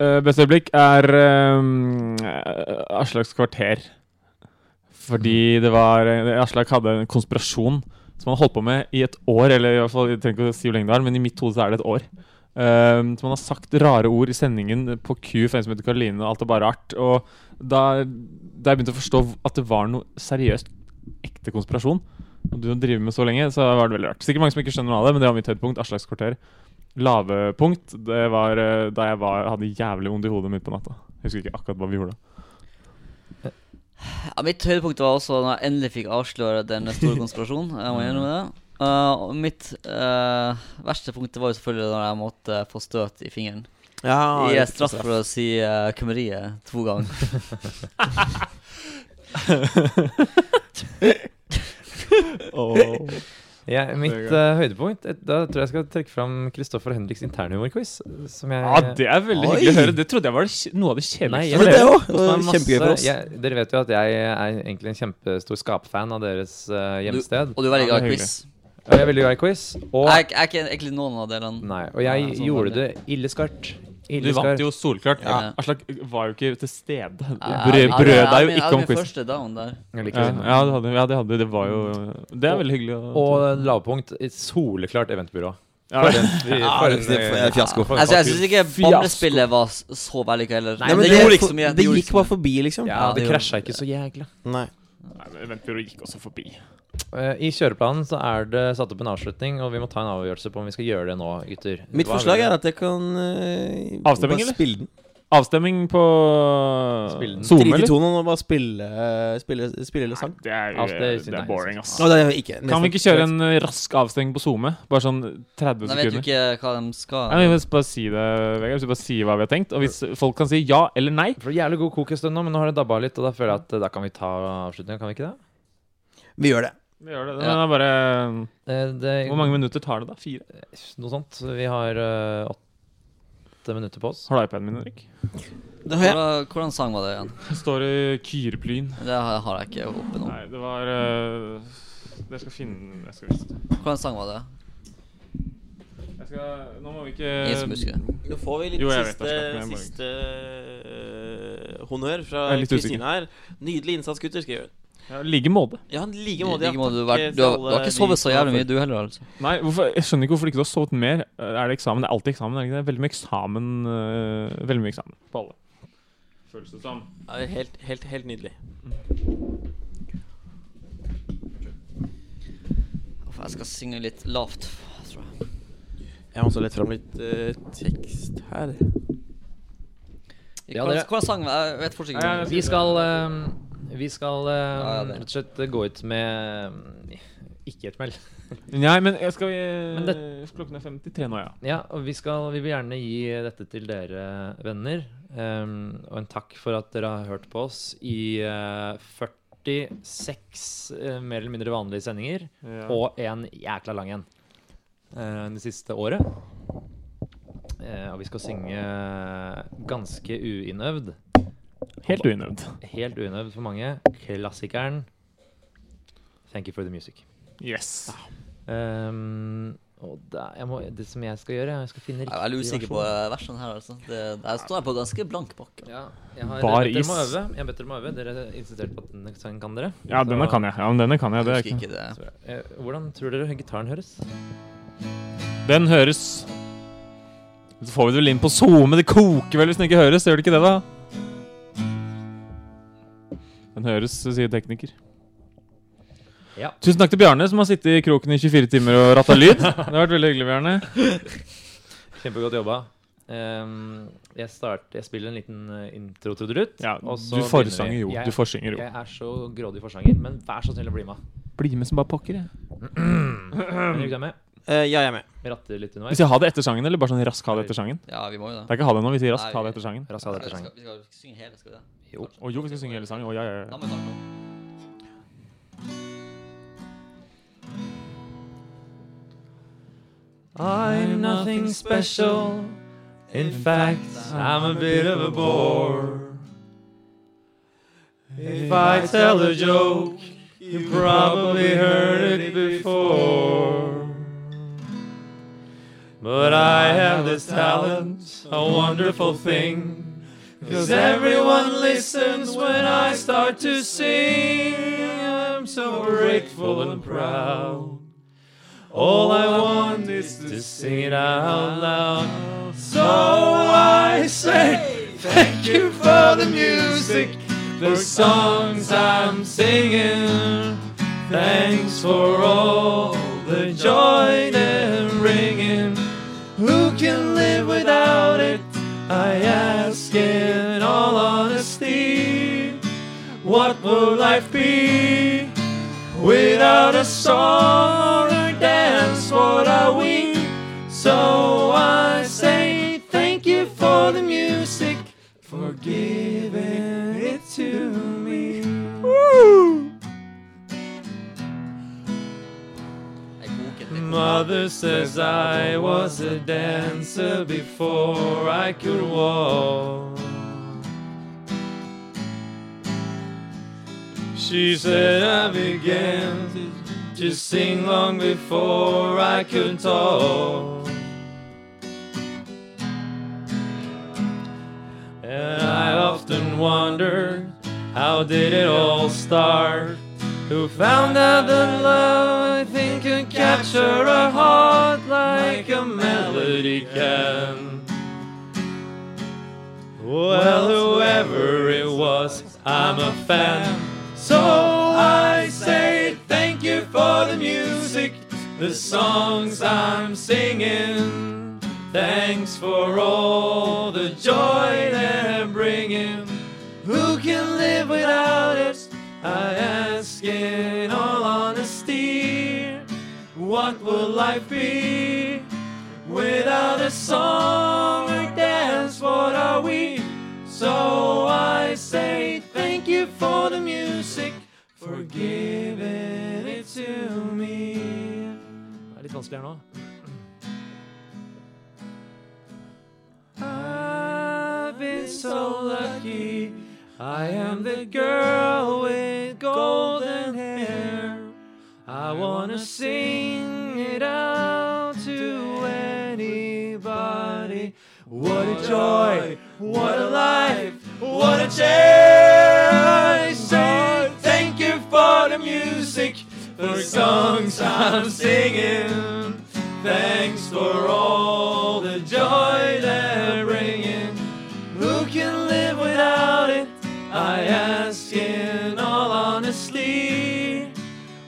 Eh, beste øyeblikk er ehm, eh, Aslaks kvarter. Fordi det var eh, Aslak hadde en konspirasjon som han holdt på med i et år. Eller i hvert fall, jeg trenger ikke å si hvor lenge det er, men i mitt hode så er det et år. Ehm, som han har sagt rare ord i sendingen på Q for en som heter Karoline, og alt er bare rart. Og da, da jeg begynte å forstå at det var noe seriøst ekte konspirasjon, og du driver med så lenge, så var det veldig rart. Sikkert mange som ikke skjønner noe av det, men det var mitt høydepunkt. Aslaks kvarter. Lave punkt, det var eh, da jeg var, hadde jævlig vondt i hodet midt på natta. Jeg husker ikke akkurat hva vi gjorde. Ja, mitt høydepunkt var også når jeg endelig fikk avsløre den store konspirasjonen. Jeg må innrømme det. Mm. Eh, og mitt eh, verste punkt var jo selvfølgelig når jeg måtte få støt i fingeren. Ah, Ja, I straff for å si uh, kummeriet to ganger. Ja, mitt Det eh, høydepunkt eh, Da tror jeg jeg skal trekke fram Kristoffer Henriks internhumorquiz. Som jeg Ja, det er veldig Oi. hyggelig å høre. Det trodde jeg var det kj- noe av det Eh, Nei, kjedeligste jeg- Ja, men det òg. Kost meg masse. Kjempegøy for oss. Jeg, dere vet jo at jeg er egentlig en kjempestor skapfan av deres eh, hjemsted. Og du er veldig Ja, glad det i er quiz. Og jeg er veldig glad i quiz. Og, Jeg er ikke- jeg er ikke egentlig noen av delene. nei, og jeg Nei, sånn var gjorde det det. illeskarpt. Du vant jo solklart. Ja. Aslak var jo ikke til stede. Jeg- Brød, jeg- brød deg jeg- jo jeg- jeg- ikke om Min quiz. første down der. Jeg liker Ja, å si noe. ja, det hadde, ja, det hadde Det var jo Det er veldig hyggelig. å- Og lavpunkt et soleklart eventbyrå. ja, For det- en- Ja, for det en- er fiasko. for en Altså, jeg fakkel. syns ikke bamlespillet var s- så vellykka heller. Nei, men det, gjorde ikke så mye. Det gjorde gikk ikke så bare forbi, liksom. ja, Ja, det det gjorde- krasja ikke så jækla. Nei. Nei, men Eventbyrået gikk også forbi. Eh, I kjøreplanen så er det satt opp en avslutning, og vi må ta en avgjørelse på om vi skal gjøre det nå, gutter. Mitt Hva forslag vil er dere? at jeg kan eh, Avstemning, bare eller? Spille den. Avstemming på Spill den. SoMe, Drite i eller? tonen og bare spille, eh, spille, spille eller sang. Det er, Ja, det synes det er jeg. boring, ass. Å, det er ikke, Kan nesten. vi ikke kjøre en eh, rask avstengning på SoMe? Bare sånn 30 Da vet du sekunder? ikke hva de skal. Nei, men bare si det, Vegard. Hvis du bare sier hva vi har tenkt. Og hvis folk kan si ja eller nei For det er Jævlig god kok en stund nå, men nå har det dabba litt, og da føler jeg at eh, da kan vi ta avslutninga, kan vi ikke det? Vi gjør det. Vi gjør det. Ja. Den er bare Eh, det- Hvor mange minutter tar det, da? Fire? Noe sånt. Vi har eh, åtte minutter på oss. Har du iPaden min, Henrik? Det har jeg. Hvordan, hvordan sang var det igjen? Det står i Kyreplyn. Det har har jeg ikke oppe nå. Nei, det var eh, Jeg skal finne Jeg skal vise det. Hvordan sang var det? Jeg skal Nå må vi Ingen som husker ikke det. Nå får vi litt Jo, jeg vet siste, det, men jeg bare- siste eh, honnør fra Jeg er litt usikker. Kristine her. Nydelig innsats, gutter, skriver hun. ja, Like måte. Ja, i like I måte. ja. like måte, Du, Takk, har vært- eh, du, har, til sånn, du har alle ikke de sovet så som har jævlig mye, fulgt. du heller, altså. Nei, hvorfor, jeg skjønner ikke hvorfor du ikke har sovet mer. Er det eksamen? Det er alltid eksamen. Er det ikke det? Veldig mye eksamen eh, Veldig mye eksamen på alle. Føles det som. Ja, det er helt, helt, helt nydelig. Uff, Jeg skal synge litt lavt, tror jeg. Jeg må også lette fram litt eh, tekst her. Ja, hvordan, dere- hvordan sang var Jeg vet fortsatt ikke. Ja, ja, hvordan- Vi skal eh, Vi skal eh, Ja, ja, det. rett og slett gå ut med eh, ikke et meld. Nei, men jeg skal eh, Men Klokken er 53 nå, ja. Ja, og vi, skal, vi vil gjerne gi dette til dere venner. ehm, og en takk for at dere har hørt på oss i eh, 46 eh, mer eller mindre vanlige sendinger. Ja. Og en jækla lang en eh, det siste året. Eh, og vi skal synge eh, ganske uinnøvd. Helt uinnøvd. Helt uinnøvd for mange. Klassikeren 'Thank you for the music'. Yes. Ehm, Å, da- jeg må, det som jeg skal gjøre, er jeg skal finne Jeg riktig er veldig usikker på versjon. eh, versene her. altså det, Der står jeg på ganske blank bakke. Ja, jeg har Bar bedt dere om å is. øve. Jeg har bedt dere om å øve. Dere insisterte på at denne sangen kan dere. Ja, denne kan jeg. Ja, men denne kan jeg. Det er Husker ikke. ikke det. Eh, Hvordan tror dere gitaren høres? Den høres Så får vi det vel inn på SoMe. Det koker vel hvis den ikke høres. Gjør det ikke det, da? Den høres, sier tekniker. Ja. Tusen takk til Bjarne, som har sittet i kroken i 24 timer og ratta lyd. Det har vært veldig hyggelig, Bjarne. Kjempegodt jobba. Ehm, jeg, start, jeg spiller en liten eh, intro til Drut. Ja, og så du begynner forsanger vi. jo. Jeg, Du forsynger jo. jeg er så grådig forsanger, men vær så snill å bli med. Bli med som bare pokker, jeg. Henrik, du er med? Eh, ja, jeg er med. Ratter litt Vil underveis. jeg ha det etter sangen, eller bare sånn rask ha det etter sangen? Ja, vi må jo Det det. er ikke ha det nå, vi sier rask Nei, ha det etter sangen. Raskt av dette Vi sangen. skal, vi skal synge hele, skal vi det? Jo. Å jo, vi skal synge hele sangen. Å ja, ja, Da ja. må vi starte nå. I'm nothing special. In fact, I'm a bit of a bore. If I tell a joke, you probably heard it before. But I have this talent, a wonderful thing. Cause everyone listens when I start to sing. I'm so grateful and proud. All I want is to sing it out loud. So I say, thank you for the music, the songs I'm singing. Thanks for all the joy they're bringing. Who can live without it? I ask in all honesty. What will life be without a song or dance? What are we? So I say thank you for the music, for giving it to me. Jeg koker litt. Mother says I was a dancer before I could walk. She said I began to- to sing long before I could talk. And I often wondered how did it all start? Who found out that love, I think, could capture a heart like a melody can? Well, whoever it was, I'm a fan. So I say thank you for the music, the songs I'm singing. Thanks for all the joy they're bringing. Who can live without it? I ask in all honesty. What will life be without a song or dance? What are we? So I say thank you for the music, for giving it to me. Det er litt vanskelig her nå. I've been so lucky. I am the girl with golden hair. I wanna sing it out to anybody. What a joy, what a life, what a chair. I say thank you for the music, for songs I'm singing. Thanks for all the joy they're bringing. Who can live without it? I ask in all honesty.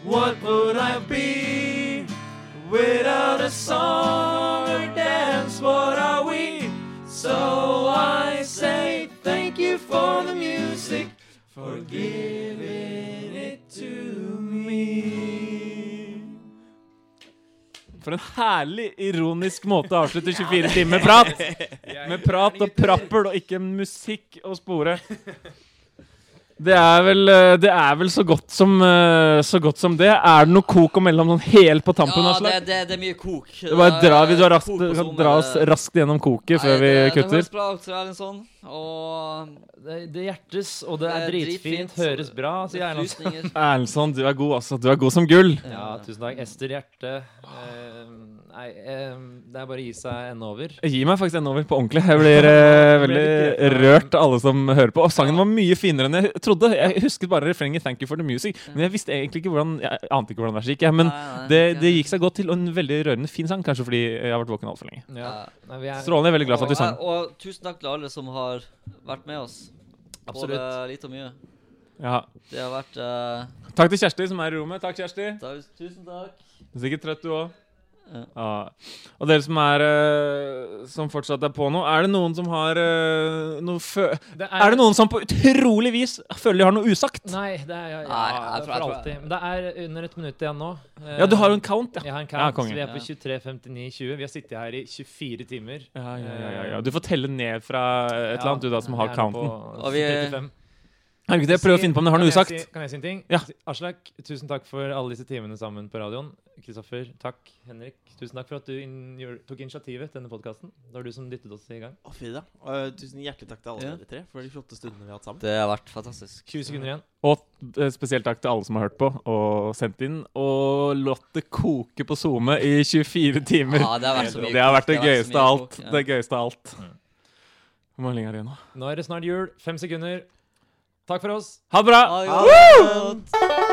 What would I be without a song or dance? What are we? So I say thank you for the music, for giving it to me. For en herlig ironisk måte å avslutte 24 timer med prat! Med prat og prappel og ikke musikk å spore. Det er vel, eh, det er vel så, godt som, eh, så godt som det. Er det noe kok å melde om sånn helt på tampen? Ja, det, Aslak? det, det er mye kok. Det bare Det er- drar, vi drar raskt, kok på kan Zoom, dra oss eh, raskt gjennom koket nei, før vi det- Det kutter. høres bra ut, Sir Erlendsson. sånn, Og Det, det hjertes, og det Det er er dritfint. dritfint. Høres bra, sier Erland. opplysninger Erlendson, du er god, altså. Du er god som gull. Ja, tusen takk. Ester Hjerte. Eh, Nei, eh, det er bare å gi seg enden over. Gi meg faktisk en over på ordentlig. Jeg blir eh, veldig rørt av alle som hører på. Og sangen var mye finere enn jeg trodde. Jeg husket bare refrenget 'Thank you for the music'. Men jeg visste egentlig ikke hvordan Jeg ante ikke hvordan verset gikk. jeg, Men Nei, nei, det, ikke det jeg. gikk seg godt til, og en veldig rørende fin sang. Kanskje fordi jeg har vært våken altfor lenge. Ja. Nei, vi er, Strålende. Jeg er veldig glad for at Og, du sang. og tusen takk til alle som har vært med oss. Absolutt. Både lite og mye. Ja. Det har vært eh, Takk til Kjersti, som er i rommet. Takk, Kjersti. takk- Tusen takk. Du er sikkert trøtt, du òg. Ja. Og dere som er eh, Som fortsatt er på nå, er det noen som har eh, noe fø... det Er det noen som på utrolig vis føler de har noe usagt? Nei, det er, ja, ja, Nei, jeg det tror- er jeg for tror- alltid. Men det er under et minutt igjen nå. Eh, Ja, du har jo en count, ja. Jeg har en Ja, count. konge. så vi er på 23.59,20. Vi har sittet her i 24 timer. Ja, ja, ja, ja, ja. Du får telle ned fra et eller annet, du da, som har counten. Og vi- Er det ikke det? Prøv å finne på om jeg har noe usagt. Si, kan jeg si en ting? Ja. Aslak, tusen takk for alle disse timene sammen på radioen. Kristoffer, takk. Henrik, tusen takk for at du inn, gjør, tok initiativet til denne podkasten. Det var du som dyttet oss i gang. Å, fy da. Og, eh, tusen hjertelig takk til alle Ja. dere tre for de flotte stundene vi har hatt sammen. Det har vært fantastisk. 20 sekunder igjen. Og eh, spesielt takk til alle som har hørt på og sendt inn. Og latt det koke på SoMe i 24 timer. Ja, det har vært så mye Det har vært det kokk, det har vært så gøyeste mye av alt. kokk, ja. Det gøyeste av alt. Hvor mange lenger er det igjen nå? Nå er det snart jul. Fem sekunder. Takk for oss. Ha det bra! Ha det godt.